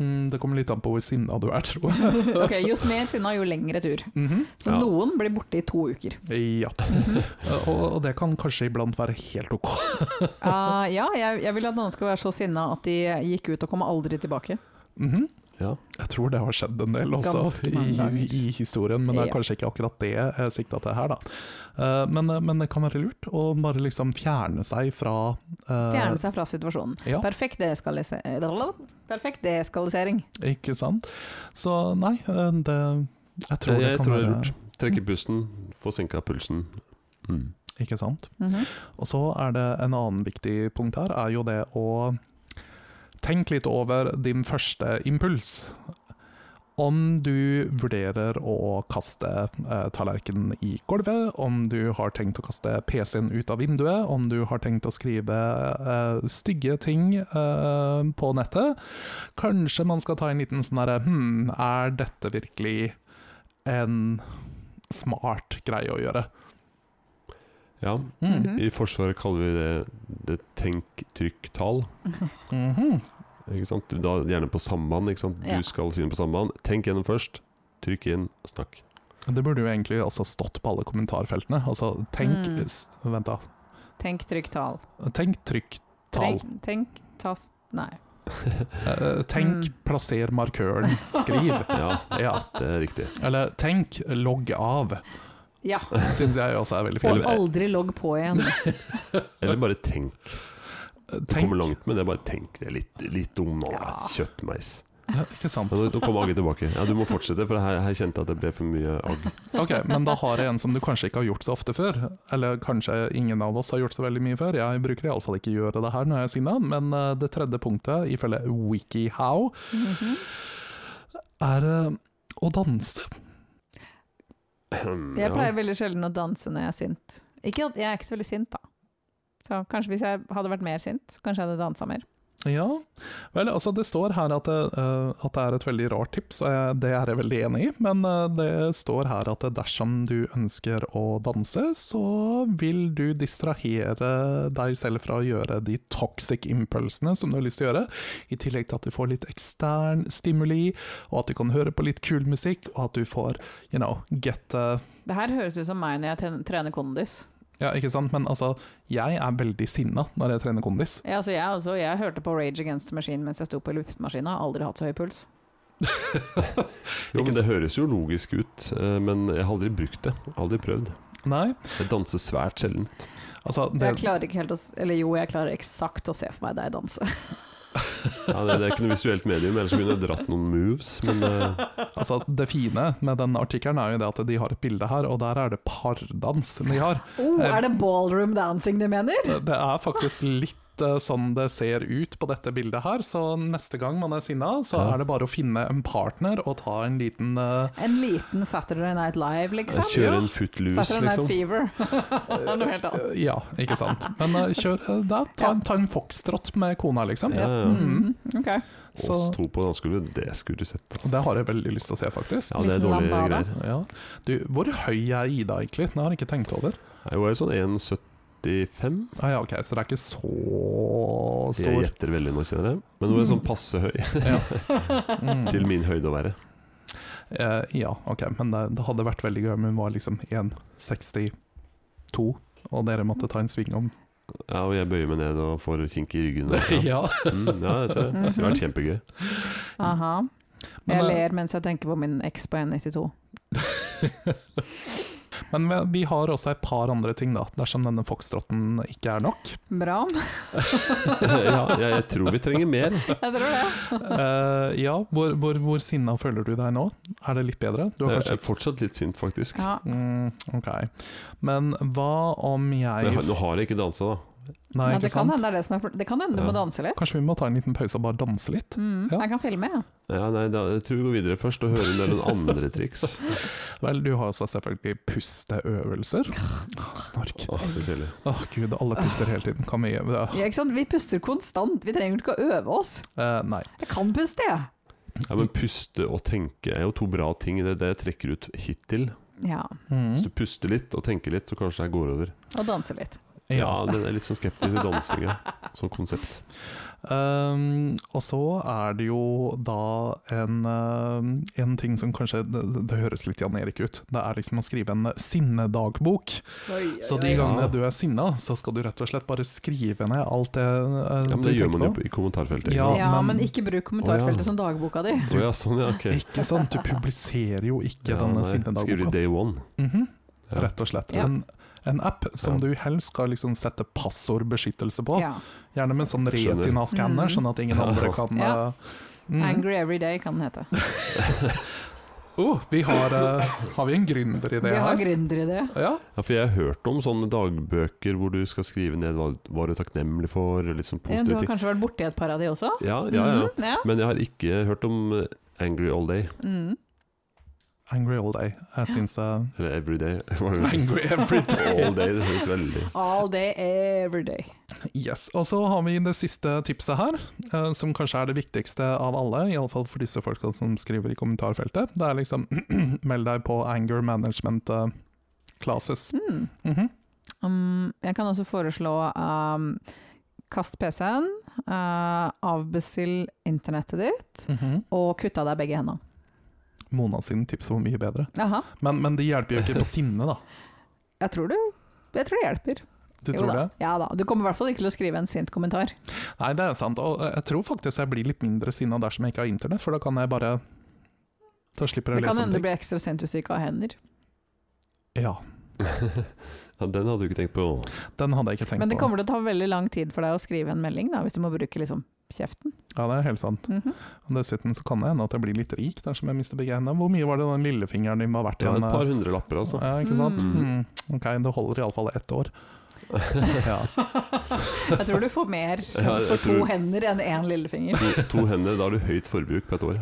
Mm, det kommer litt an på hvor sinna du er, tror jeg.
Ok, Jo mer sinna, jo lengre tur.
Mhm.
Så
Ja.
noen blir borte i to uker.
Ja. Og, og det kan kanskje iblant være helt ok.
Ah, ja, jeg, jeg vil at noen skal være så sinna at de gikk ut og kom aldri tilbake.
Mhm.
Ja.
Jeg tror det har skjedd en del også
Ganske mange
i,
ganger.
i historien, men det er
Ja.
kanskje ikke akkurat det jeg sikta til her, da. Eh, Men, men det kan være lurt å bare liksom fjerne seg fra eh,
Fjerne seg fra situasjonen.
Ja.
Perfekt, deskalise- Perfekt deeskalering.
eh, Ikke sant. Så nei, eh, det Jeg tror
Jeg
det kan
tror det er
være Mm.
lurt. Trekke pusten, få senka pulsen. Mm.
Ikke sant.
Mhm.
Og så er det en annen viktig punkt her, er jo det å Tenk litt over din første impuls. Om du vurderer å kaste eh, tallerkenen i gulvet, om du har tenkt å kaste PC-en ut av vinduet, om du har tenkt å skrive eh, stygge ting eh, på nettet, kanskje man skal ta en liten sånn herre Hm, er dette virkelig en smart greie å gjøre?
Ja.
Mm.
Mhm.
I Forsvaret kaller vi det, det tenk-trykk-tal.
Mhm.
Ikke sant? Da Gjerne på samband. Ikke sant? Du
Ja.
skal si det på samband. Tenk gjennom først. Trykk inn, snakk.
Det burde jo egentlig også stått på alle kommentarfeltene. Altså, tenk
Mm.
s- Vent, da.
Tenk trykk tal.
Tenk trykk tall.
Tenk, tenk tast Nei.
Eh, tenk
Mm.
plasser markøren, skriv.
Ja,
ja.
det er riktig.
Eller tenk logg av,
Ja.
syns jeg også er veldig
Og
fint.
aldri logg på igjen.
Eller bare tenk.
Eh,
Du kommer
Tenk
langt med det, bare tenk det litt, litt om nå. da.
Ja.
Kjøttmeis.
Ja, Ikke sant.
Ja, nå, nå kom Agge tilbake. Ja, Du må fortsette, for her, her kjente jeg at det ble for mye agg.
Ok, Men da har jeg en som du kanskje ikke har gjort så ofte før. Eller kanskje ingen av oss har gjort så veldig mye før. Jeg bruker iallfall ikke gjøre det her når jeg er sinna, men eh, det tredje punktet, ifølge WikiHow,
Mhm.
er eh, å danse.
Ahem,
Jeg
ja.
pleier veldig sjelden å danse når jeg er sint. Ikke at jeg er ikke så veldig sint, da. Så kanskje hvis jeg hadde vært mer sint, så kanskje jeg hadde dansa mer.
Ja, vel, altså det står her at det, eh, at det er et veldig rart tips, og jeg, det er jeg veldig enig i, men eh, det står her at dersom du ønsker å danse, så vil du distrahere deg selv fra å gjøre de toxic impulsene som du har lyst til å gjøre, i tillegg til at du får litt ekstern stimuli, og at du kan høre på litt kul musikk, og at du får, you know, get the
Det her høres ut som meg når jeg ten- trener kondis.
Ja, ikke sant, men altså, jeg er veldig sinna når jeg trener kondis.
Ja, altså jeg, også, jeg hørte på Rage Against the Machine mens jeg sto på ellipsmaskina. Aldri hatt så høy puls.
Jo, men Det høres jo logisk ut, eh, men jeg har aldri brukt det. Aldri prøvd.
Nei,
Jeg danser svært sjelden.
altså
Jeg klarer ikke helt å s- Eller jo, jeg klarer eksakt å se for meg deg danse.
Ja, det, det er ikke noe visuelt medium, ellers kunne jeg dratt noen moves. Men eh,
Altså, det fine med den artikkelen er jo det at de har et bilde her, og der er det pardans de har.
Oh, er det ballroom dancing de mener?
Det det er faktisk litt eh, sånn det ser ut på dette bildet her, så neste gang man er sinna, så
Ja.
er det bare å finne en partner og ta en liten eh,
En liten Saturday Night Live, liksom?
jeg kjører en footloose,
Saturday Night
liksom.
Fever. det er noe helt annet.
eh, Ja, ikke sant. Men eh, kjør eh, da, ta, ta en foxtrot med kona, liksom.
Ja, ja.
Mm.
Mhm.
Mm-hmm. Ok.
Så
Oss to på dansegulvet, det skulle du sett. ass.
det har jeg veldig lyst til å se, faktisk.
Ja, det er
Liten
dårlige
lambada.
greier.
Ja. Du, hvor høy er Ida egentlig? Det har jeg ikke tenkt over.
Jeg var jo sånn 1,75.
Ah, ja, ok, Så det er ikke så
Jeg
stor.
gjetter veldig nå, kjenner jeg. Men hun er sånn passe høy
Mm.
til min høyde å være.
Eh, ja, ok, men det, det hadde vært veldig gøy om hun var liksom 1,62, og dere måtte ta en sving om.
Ja, og jeg bøyer meg ned og får kink i ryggen. Og, ja.
ja.
Mm, ja, jeg ser det. Det har vært kjempegøy.
Aha.
Men,
Jeg
eh,
ler mens jeg tenker på min eks på 1,92.
men vi, vi har også et par andre ting, da, dersom denne foxtrotten ikke er nok.
Bra.
ja, jeg, jeg tror vi trenger mer.
Jeg tror det.
Eh, ja, hvor, hvor, hvor sinna føler du deg nå? Er det litt bedre? Du har
Jeg
kanskje
er fortsatt litt sint, faktisk.
Ja.
Mm, ok. Men hva om
Men
jeg
jeg har- nå har jeg ikke dansa, da.
Nei,
Ja,
ikke
det, kan
sant?
hende det, er det, som er, det kan hende du må
Ja.
danse litt.
Kanskje vi må ta en liten pause og bare danse litt?
Mm.
Ja.
Jeg kan filme, jeg.
Ja, nei, da, jeg tror vi går videre først og hører en del noen andre triks.
Vel, du har også selvfølgelig pusteøvelser. Snork.
Åh, så kjedelig.
Åh gud, alle puster hele tiden. Kan vi gjøre det?
Ja, ikke sant? Vi puster konstant. Vi trenger ikke å øve oss.
Eh, nei.
Jeg kan puste, jeg.
Ja, men puste og tenke er jo to bra ting. Det er det jeg trekker ut hittil.
Ja.
Mm.
Hvis du puster litt og tenker litt, så kanskje jeg går over.
Og danse litt.
Ja, den er litt sånn skeptisk til dansinga som konsept.
Um, og så er det jo da en, um, en ting som kanskje det, det høres litt Jan Erik ut. Det er liksom å skrive en sinnedagbok. Så de gangene du er sinna, så skal du rett og slett bare skrive ned alt det uh,
Ja, men
du
Det gjør
tenker
man jo
på.
på- i kommentarfeltet.
Ja.
Ikke sant?
Ja,
men-
men ikke bruk
Å,
kommentarfeltet
ja.
som dagboka di.
Å ja, sånn, ja, ok.
Ikke sant? Du publiserer jo ikke
Ja,
denne
nei, Skriver i
sinnedagboka.
day one.
Mhm,
Ja.
Rett og slett.
Ja.
En, en app som
Ja.
du helst skal liksom sette passordbeskyttelse på.
Ja.
Gjerne med en sånn
Skjønner. Mm-hmm.
retina-skanner,
Mhm.
sånn at ingen andre kan
Ja.
uh, mhm.
Angry Every Day kan den hete.
Oh, vi har, eh, har vi en gründeridé
Vi
her?
har gründeridé.
Ja,
Ja, for jeg har hørt om sånne dagbøker hvor du skal skrive ned hva, hva du er takknemlig for, og litt sånn
Ja, Du
positive
har
ting.
kanskje vært borti et par av de også?
Ja, ja, ja.
Mhm, ja.
Men jeg har ikke hørt om eh, Angry All Day,
Mm.
Angry All Day. Jeg syns eh,
eller Every Day. Var det
Angry Every Day.
All Day, det høres veldig
All day, every day.
Yes. Og så har vi det siste tipset her, eh, som kanskje er det viktigste av alle, iallfall for disse folka som skriver i kommentarfeltet. Det er liksom meld deg på anger management eh, classes.
Mm.
Mhm.
Um, jeg kan også foreslå um, kast PC-en, uh, avbestill internettet ditt,
Mhm.
og kutt av deg begge hendene.
Mona sine tips var mye bedre.
Jaha.
Men, men de hjelper jo ikke på sinne, da.
Jeg tror, du, jeg tror det hjelper.
Du
Jo
tror
da.
det?
Ja da. Du kommer i hvert fall ikke til å skrive en sint kommentar.
Nei, det er sant. Og eh, jeg tror faktisk jeg blir litt mindre sinna dersom jeg ikke har internett, for da kan jeg bare Da slipper
Det
jeg å
kan
lese om
hende du
ting.
blir ekstra sint hvis du ikke har hender.
Ja,
Ja, den hadde du ikke tenkt på.
den hadde jeg ikke tenkt
Men det
på.
kommer til å ta veldig lang tid for deg å skrive en melding, da, hvis du må bruke liksom kjeften.
Ja, det er helt sant.
Mhm.
Og Dessuten så kan det hende at jeg blir litt rik dersom jeg mister begge hendene. Hvor mye var det den lillefingeren din var verdt eh,
Ja,
igjen?
et par hundre lapper, altså.
Ja, ikke sant?
Mm.
Mm. Ok, det holder iallfall ett år. Ja.
Jeg tror du får mer
Ja, jeg
for to
tror-
hender enn én lillefinger.
To, to hender, da har du høyt forbruk på et år.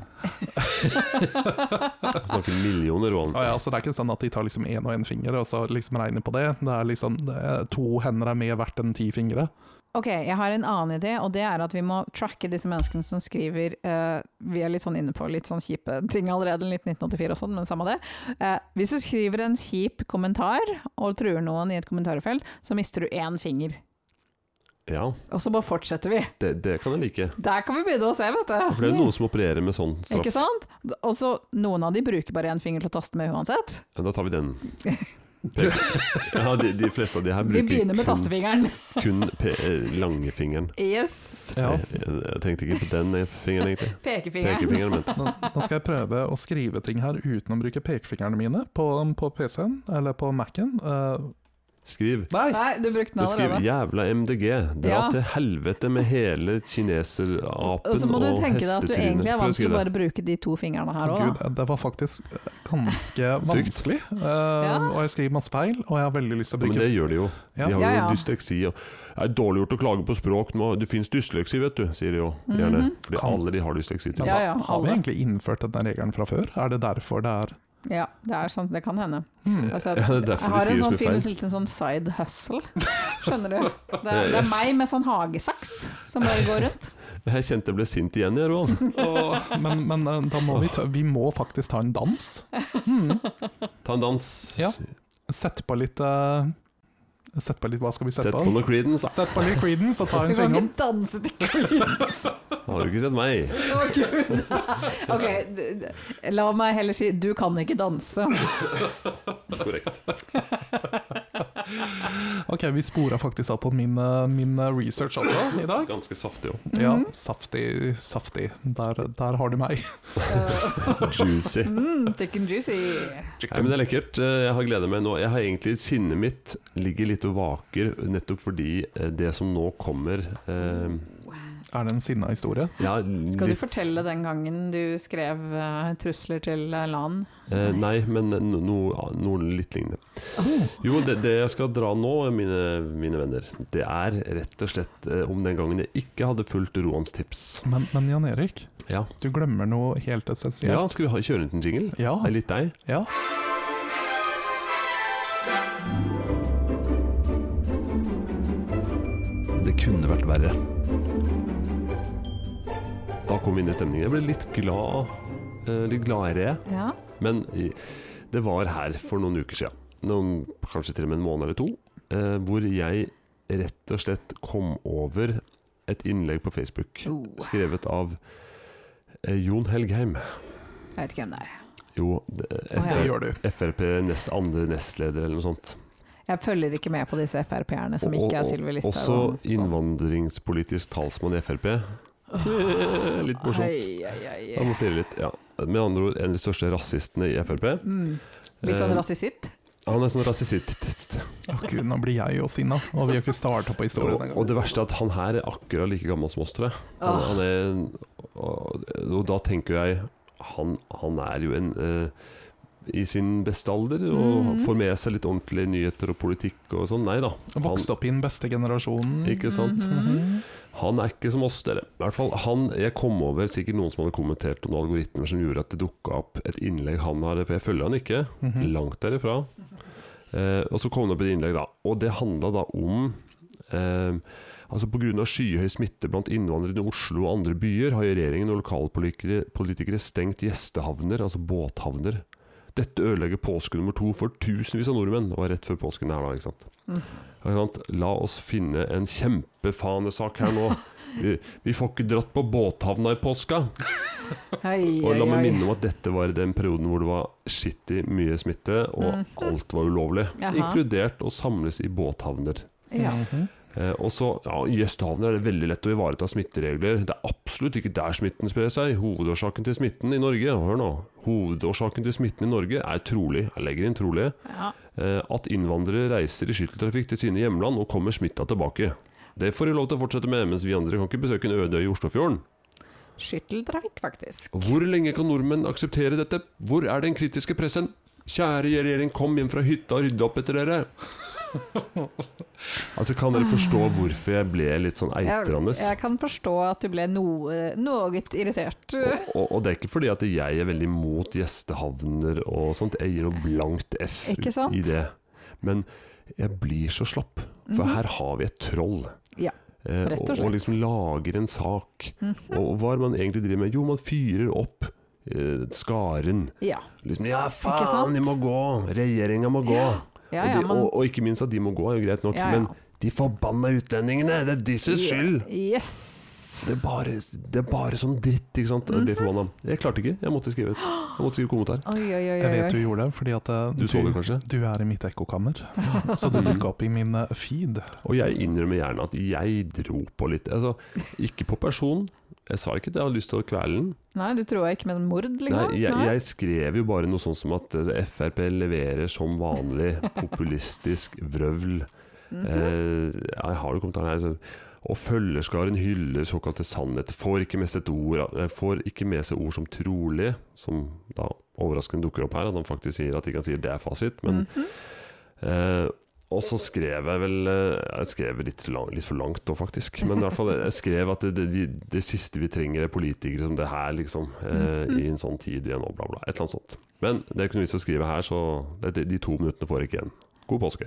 Jeg snakker millioner og
Ja, ja, så det er ikke sånn at de tar liksom én og én finger og så liksom regner på det. Det er liksom det er, To hender er mer verdt enn ti fingre.
Ok, jeg har en annen idé, og det er at vi må tracke disse menneskene som skriver eh, Vi er litt sånn inne på litt sånn kjipe ting allerede, litt 1984 og sånn, men samme det. Eh, hvis du skriver en kjip kommentar og truer noen i et kommentarfelt, så mister du én finger.
Ja,
Og så bare fortsetter vi.
det, det kan jeg like.
Der kan vi begynne å se, vet du.
For det er jo noen som opererer med sånn straff.
Ikke sant? Og så noen av de bruker bare én finger til å taste med uansett.
Ja, Da tar vi den. Pe- Ja, de, de fleste av de her
Vi
bruker
begynner med
kun,
tastefingeren.
kun pe eh, langfingeren.
Yes!
Ja.
Jeg, jeg, jeg tenkte ikke på den eh, fingeren, egentlig.
Pekefingeren.
Pekefingeren, men
Nå, nå skal jeg prøve å skrive ting her uten å bruke pekefingrene mine på, på PC-en eller på Mac-en. Eh,
skriv.
nei!
Nei, du brukte den
Du skriver
allerede.
'jævla MDG'. Dra
Ja.
til helvete med hele kineserapen og
Og så må du tenke deg at du
hestetrynet.
egentlig er
Prøv å
vant til
skrive
å
det.
bare bruke de to fingrene her òg,
Gud,
da.
det var faktisk eh, ganske
Stygt.
vanskelig. Eh, Og jeg skriver masse feil, og jeg har veldig lyst til å
Ja, men
bruke
det gjør de jo. De
Ja.
har jo
Ja, ja.
dysleksi. Og det er dårlig gjort å klage på språk nå. Det fins dysleksi, vet du, sier de jo gjerne.
Mhm.
Fordi alle de har dysleksi.
Men
Til.
Ja, ja,
har vi
alle.
egentlig innført denne regelen fra før? Er det derfor det er
Ja, det er sant, det kan hende.
hmm.
Altså,
Ja, det er derfor de
jeg har en
skriver så
sånn
mye
fyr med
feil.
litt en sånn side hustle, skjønner du. Det er, det er
Yes.
meg med sånn hagesaks som bare går rundt.
Jeg kjente jeg ble sint igjen, jeg, Roald.
Åh, Men, men eh, da må vi ta Vi må faktisk ta en dans.
Ta en dans.
Ja. Sett på litt eh, Sett på litt Hva skal vi sette
Sett på
på?
noe Creedence. da.
Sett på litt Creedence og ta
Vi
en
kan
sving om.
ikke danse til klins!
Har du ikke sett meg?
Å, Gud. Ok, d- d- la meg heller si du kan ikke danse.
Korrekt.
Ok, vi spora faktisk opp på min, eh, min eh, research også i dag.
Ganske saftig òg.
Mhm.
Ja, saftig, saftig. Der, der har du meg.
Juicy.
Mm, thick and juicy.
Nei, men det er lekkert. Eh, Jeg har gleda meg nå. Jeg har egentlig Sinnet mitt ligger litt og vaker nettopp fordi eh, det som nå kommer eh,
Er det en sinna historie?
ja,
Skal du
litt-
fortelle den gangen du skrev eh, trusler til eh, LAN?
Eh, nei, men no- noe no, litt lignende. Jo, det, det jeg skal dra nå, mine, mine venner, det er rett og slett eh, om den gangen jeg ikke hadde fulgt Roans tips.
Men, men Jan Erik,
Ja,
du glemmer noe helt
ja
essensielt.
skal vi ha, kjøre ut en jingle?
Ja.
Det er litt deg.
ja.
Det kunne vært verre. Da kom vi inn i stemningen. Jeg ble litt glad, eh, litt gladere.
Ja.
Men i- det var her for noen uker siden, noen, kanskje til og med en måned eller to, eh, hvor jeg rett og slett kom over et innlegg på Facebook
Oh,
skrevet av eh, Jon Helgheim.
jeg vet ikke hvem det er.
Jo, det-
Å, ja.
Det
FR,
gjør du.
Frp nest, andre nestleder eller noe sånt.
Jeg følger ikke med på disse Frp-erne som
Og-
ikke er
og-
Sylvi Listhaug.
Også
og sånn.
innvandringspolitisk talsmann i Frp. Eh, Litt morsomt.
Ai, ai, ai.
Jeg må flire litt. Ja. Med andre ord en av de største rasistene i Frp.
Mm. Litt sånn
Eh,
rasisitt?
Han er sånn rasist.
Å gud, nå blir jeg jo sinna, og vi har ikke starta på historien
Og, og
engang.
det verste er at han her er akkurat like gammel som oss, tror jeg. Han,
Åh,
han er, en- og, og da tenker jeg Han, han er jo en eh, i sin beste alder og
Mhm.
får med seg litt ordentlige nyheter og politikk og sånn. Nei da.
Vokste opp i den beste generasjonen.
Ikke sant?
Mm-hmm.
Mhm.
Han er ikke som oss, dere. I hvert fall, han, Jeg kom over sikkert noen som hadde kommentert noen algoritmer som gjorde at det dukka opp et innlegg han har For jeg følger han ikke.
Mhm.
Langt derifra. Eh, og så kom det opp et innlegg, da. Og det handla da om eh, Altså Pga. skyhøy smitte blant innvandrere i Oslo og andre byer har regjeringen og lokalpolitikere politikere stengt gjestehavner, altså båthavner. Dette ødelegger påske nummer to for tusenvis av nordmenn. Og rett før påsken her, da. ikke sant?
Mhm.
Ikke sant? La oss finne en kjempefanesak her nå. Vi, vi får ikke dratt på båthavna i påska.
Ai,
Og la
ai,
meg
ai.
minne om at dette var i den perioden hvor det var skittig mye smitte, og
Mhm.
alt var ulovlig.
Jaha.
Inkludert å samles i båthavner.
Ja.
Mhm.
Eh, og så, ja, I gjestehavner er det veldig lett å ivareta smitteregler. Det er absolutt ikke der smitten sprer seg. Hovedårsaken til smitten i Norge hør nå, hovedårsaken til smitten i Norge er trolig jeg legger inn trolig,
Ja.
eh, at innvandrere reiser i skytteltrafikk til sine hjemland og kommer smitta tilbake. Det får de lov til å fortsette med, mens vi andre kan ikke besøke en øde øy i Oslofjorden.
Skytteltrafikk, faktisk.
Hvor lenge kan nordmenn akseptere dette? Hvor er den kritiske pressen? Kjære regjering, kom hjem fra hytta og rydde opp etter dere. Altså, kan dere forstå hvorfor jeg ble litt sånn eitrende?
Jeg, jeg kan forstå at du ble noe, noe irritert.
Og, og, og det er ikke fordi at jeg er veldig mot gjestehavner og sånt. Jeg gir noe blankt F
Ikke sant?
i det. Men jeg blir så slapp. For
Mhm.
her har vi et troll.
Ja,
Eh,
rett og
og,
slett.
og liksom lager en sak.
Mhm.
Og hva er det man egentlig driver med? Jo, man fyrer opp eh, skaren.
Ja.
Liksom Ja,
Ikke
faen,
sant?
de må gå! Regjeringa må gå!
Ja,
og,
ja,
de,
man,
og, og ikke minst at de må gå, er jo greit nok.
Ja, ja.
Men de forbanna utlendingene! Det er disses skyld!
Yes.
Det er, bare, det er bare sånn dritt, ikke sant? Jeg ble
Mhm.
forbanna. Jeg klarte ikke, jeg måtte skrive ut. Jeg måtte skrive kommentar.
Oi, oi, oi.
Jeg
oi,
vet du
oi.
gjorde det, fordi at eh,
Du så det kanskje? Mhm.
du er i mitt ekkokammer. Så du dukka opp i min eh, feed.
Og jeg innrømmer gjerne at jeg dro på litt. Altså, ikke på person. Jeg sa ikke at jeg hadde lyst til å kvele den.
Nei, du tror jeg ikke med en mord,
Nei,
liksom?
jeg,
Nei.
jeg skrev jo bare noe sånt som at eh, Frp leverer som vanlig populistisk vrøvl.
Mhm.
Eh, jeg har jo kommentaren her. Så. Og følgerskaren hyller såkalte sannheter. Får ikke, med seg et ord, eh, får ikke med seg ord som trolig, som da overraskende dukker opp her. At han faktisk sier at ikke han sier det er fasit. Men,
Mhm.
eh, og så skrev jeg vel eh, Jeg skrev litt, lang, litt for langt da, faktisk. Men i hvert fall, jeg skrev at det, det, vi- det siste vi trenger er politikere som det her, liksom. Eh, I en sånn tid igjen, og bla, bla. Et eller annet sånt. Men det er ikke noe vits å skrive her, så det, de to minuttene får jeg ikke igjen. God påske.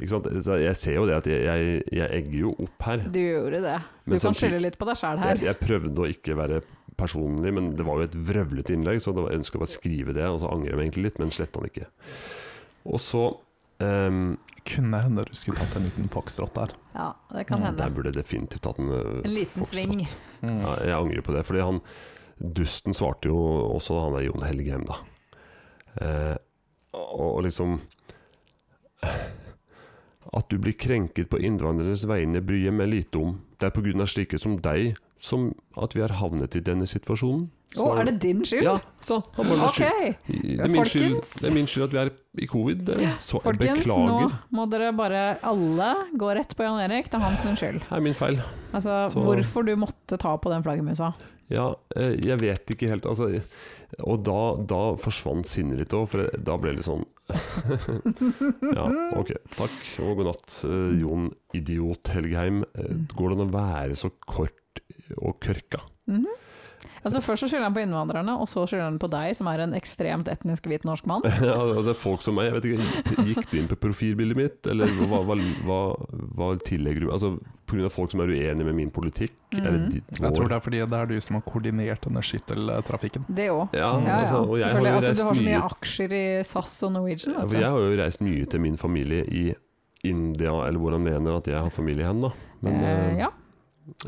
Ikke sant? Så jeg ser jo det at jeg, jeg, jeg egger jo opp her.
Du gjorde det. Du
Men
kan
samtidig-
skylde litt på deg sjæl her.
Jeg, jeg prøvde å ikke være personlig, men det var jo et vrøvlete innlegg, så det var, jeg ønska bare å skrive det, og så angrer jeg meg egentlig litt, men sletta den ikke. Og så ehm,
Kunne hende du skulle tatt en liten foxtrot der.
Ja, det kan hende.
Der burde jeg definitivt tatt en øh,
En liten
fox, da.
sving.
Mhm.
Ja, jeg angrer på det, fordi han dusten svarte jo også han der Jon Helgheim, da. Eh, og, og liksom At du blir krenket på innvandreres vegne bryr jeg meg lite om. Det er på grunn av slike som deg som at vi har havnet i denne situasjonen.
Å,
Så-
er det din skyld?
Ja, så han bare
Ok,
skyld. Det er, min skyld,
Folkens.
det er min skyld at vi er i covid. Det er- Så jeg
folkens. Nå
beklager.
må dere bare alle gå rett på Jan Erik. Det er hans sin skyld.
Det er min feil.
Altså,
Så-
hvorfor du måtte ta på den flaggermusa.
Ja, eh, jeg vet ikke helt altså, Og da, da forsvant sinnet litt òg, for jeg- da ble det litt sånn Ja, ok, takk og god natt, eh, Jon Idiot Helgheim. Eh, Går det an å være så kort og kørka?
Mhm. Altså, først så skylder han på innvandrerne, og så skylder han på deg, som er en ekstremt etnisk hvit norsk mann.
Ja, altså, det er folk som meg, jeg vet ikke, Gikk det inn på profilbildet mitt, eller hva, hva, hva, hva tillegger du Altså, Pga. folk som er uenige med min politikk? Eller
Mhm.
ditt,
Jeg tror
vår?
det er fordi det er du som har koordinert denne skytteltrafikken.
Det òg.
Ja,
Ja, ja.
altså, og jeg har
Selvfølgelig.
jo
Altså, du har
reist
så mye
mye
aksjer i SAS og Norwegian.
Ja,
Vet
for
du.
jeg har jo reist mye til min familie i India, eller hvor han mener at jeg har familie hen, da. Men
Eh,
eh,
ja.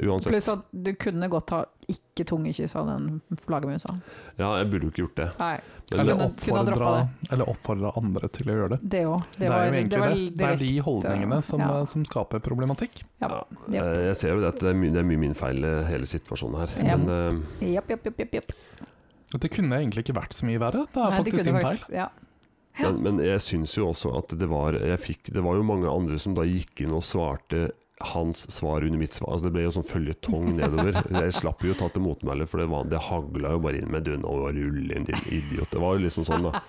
uansett.
Pluss at du kunne godt ha ikke tungekyss av den flaggermusa.
Ja, jeg burde jo ikke gjort det.
Nei,
Men
Eller
Kunne- kunne ha
oppfordra,
droppet
eller oppfordra andre til å gjøre det.
det òg.
Det, er jo egentlig det. Det er de holdningene som,
ja.
eh, som skaper problematikk.
Ja.
eh, jeg ser jo det at det er mye, det er mye min feil, eh, hele situasjonen her.
Ja.
Men eh,
Jepp, jepp, jepp. jepp, jepp.
Det kunne egentlig ikke vært så mye verre. Det er
Nei, de
faktisk
kunne
din feil.
faktisk- Ja. Ja.
Men, men jeg syns jo også at det var jeg fikk, Det var jo mange andre som da gikk inn og svarte hans svar under mitt svar. Altså Det ble jo sånn føljetong nedover. Jeg slapp jo å ta til motmæle, for det, var, det hagla jo bare inn med dønn og rull inn din idiot. Det var jo liksom sånn, da.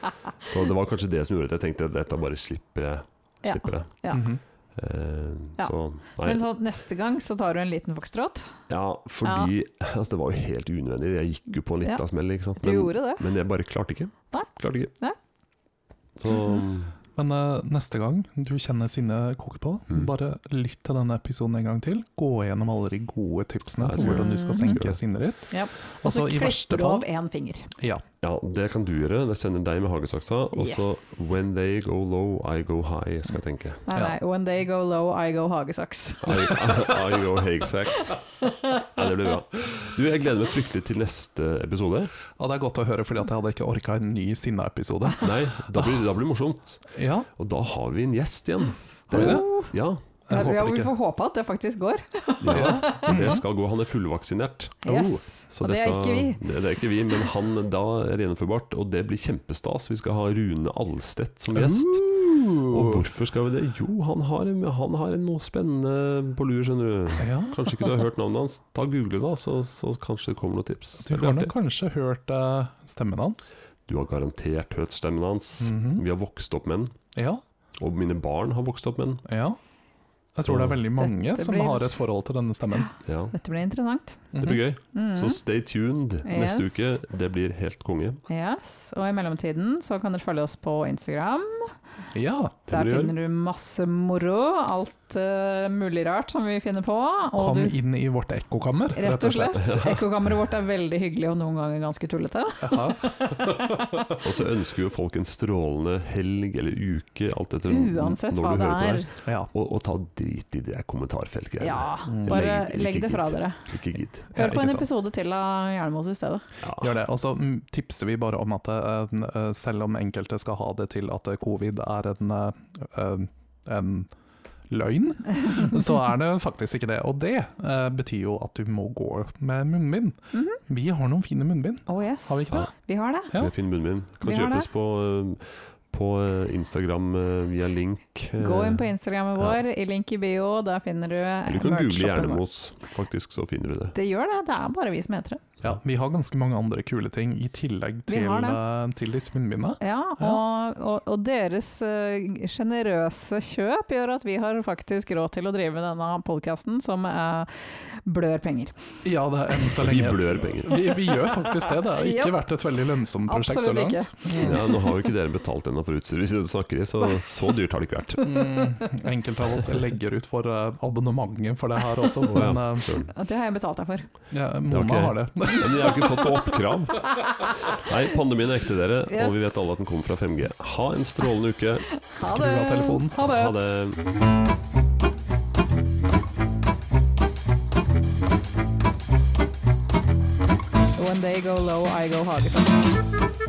Så det var kanskje det som gjorde at jeg tenkte at dette bare slipper jeg.
Ja.
Slipper jeg.
Ja.
Mhm.
Eh,
Ja.
Så nei.
Men så, neste gang så tar du en liten foxtrot.
Ja, fordi altså, det var jo helt unødvendig. Jeg gikk jo på en liten
Ja.
smell, ikke sant.
Du
Men,
gjorde det.
men jeg bare klarte ikke.
Nei.
Klarte ikke.
Nei.
Så
Men eh, neste gang du kjenner sinnet koke på,
Mm.
bare lytt til denne episoden en gang til. Gå gjennom alle de gode
Ja,
tipsene
jeg
til
skal
hvordan du
gjøre
skal
det.
Jeg skal
senke
gjøre
sinnet ditt.
Ja. Og så
Altså, i verste
klipper du av
fall
én finger.
ja,
Ja, det kan du gjøre. Jeg sender deg med hagesaksa. Og så
Yes.
'When they go low, I go high', skal jeg tenke.
Nei,
Ja.
nei. When they go low, I go hagesaks.
I, I go hagesaks. Ja, det blir bra. Du, jeg gleder meg fryktelig til neste episode.
ja, det er godt å høre, fordi at jeg hadde ikke orka en ny sinneepisode.
Nei, da blir, da blir det morsomt.
Ja,
Og da har vi en gjest igjen.
Har vi det?
Ja.
jeg
ja,
håper
vi
ikke.
får håpe at det faktisk går.
ja. Det skal gå. Han er fullvaksinert.
Yes.
Mm. Oh. Så
og det er
dette-
ikke vi.
Det, det er ikke vi, men han da er gjennomførbart. Og det blir kjempestas. Vi skal ha Rune Alstedt som gjest. Og hvorfor skal vi det? Jo, han har, han har noe spennende på lur, skjønner du.
Ja,
Kanskje ikke du har hørt navnet hans? Ta og Google, da, så, så kanskje det kommer noen tips.
du
Det blir
har nok
artig.
kanskje hørt eh, stemmen hans.
du har garantert hørt stemmen hans.
Mhm.
Vi har vokst opp med den.
Ja,
Og mine barn har vokst opp med den.
Ja. Jeg tror
Så-
det er veldig mange
Dette
som
blir-
har et forhold til denne stemmen.
Ja,
Dette blir interessant.
Det blir gøy.
Mm.
Så stay tuned neste
Yes.
uke. Det blir helt konge.
Yes. Og i mellomtiden så kan dere følge oss på Instagram. Mhm.
Ja.
Det må
Der
du gjøre.
finner du masse moro. Alt eh, mulig rart som vi finner på. Og
Kom
du,
inn i vårt ekkokammer,
rett og slett. Ekkokammeret vårt er veldig hyggelig og noen ganger ganske tullete.
Ja.
Og så ønsker jo folk en strålende helg eller uke, alt etter
Uansett
når
hva
du
det
hører på
er.
det. her.
ja.
Og, og ta drit i det kommentarfeltgreiene.
Ja,
Mm.
bare
Legg- ikke
legg det fra
gidd.
dere.
Ikke gidd.
Ja,
Hør på
ikke
en
sant.
episode til av Jernmos i stedet.
Ja.
Gjør det. Og så mm, tipser vi bare om at eh, n- eh, selv om enkelte skal ha det til at eh, covid er en, eh, eh, en løgn, så er det faktisk ikke det. Og det eh, betyr jo at du må gå med munnbind.
Mhm.
Vi har noen fine munnbind,
Oh yes,
har vi ikke det?
vi har det.
Ja.
Med Finn Munnbind. Kan
Vi har
kjøpes på, eh, på eh, Instagram eh, via link. eh,
Gå inn på Instagrammen
ja.
vår, i link i bio. Der finner du
Eller du kan google
merch-shoppen vår.
Jernemos, faktisk, så finner du det.
Det gjør det. Det er bare vi som heter det.
Ja, vi har ganske mange andre kule ting i tillegg
Vi
til,
har
eh, til disse munnbindene.
Ja, og, og, og deres sjenerøse kjøp gjør at vi har faktisk råd til å drive denne podkasten som eh, blør penger.
Ja, det er enn så
Vi
lenge.
blør penger.
Vi, vi gjør faktisk det. Det har ikke vært et veldig lønnsomt prosjekt så
Absolutt
langt.
ikke.
Ja, nå har jo ikke dere betalt ennå for utstyr, hvis dere snakker i, så så dyrt har det ikke vært.
Mm, enkelte av oss legger ut for eh, abonnementet for det her også,
Å, ja,
men eh,
søren.
Det har jeg betalt deg for.
ja,
Det var
Mona
ikke-
har det.
Ja, Men jeg har ikke fått oppkrav. Nei, pandemien er ekte, dere.
Yes.
Og vi vet alle at den kommer fra 5G. Ha en strålende uke.
Ha
Skru
det.
av telefonen.
Ha det.
Ha det.
When they go low, I go hagesaks.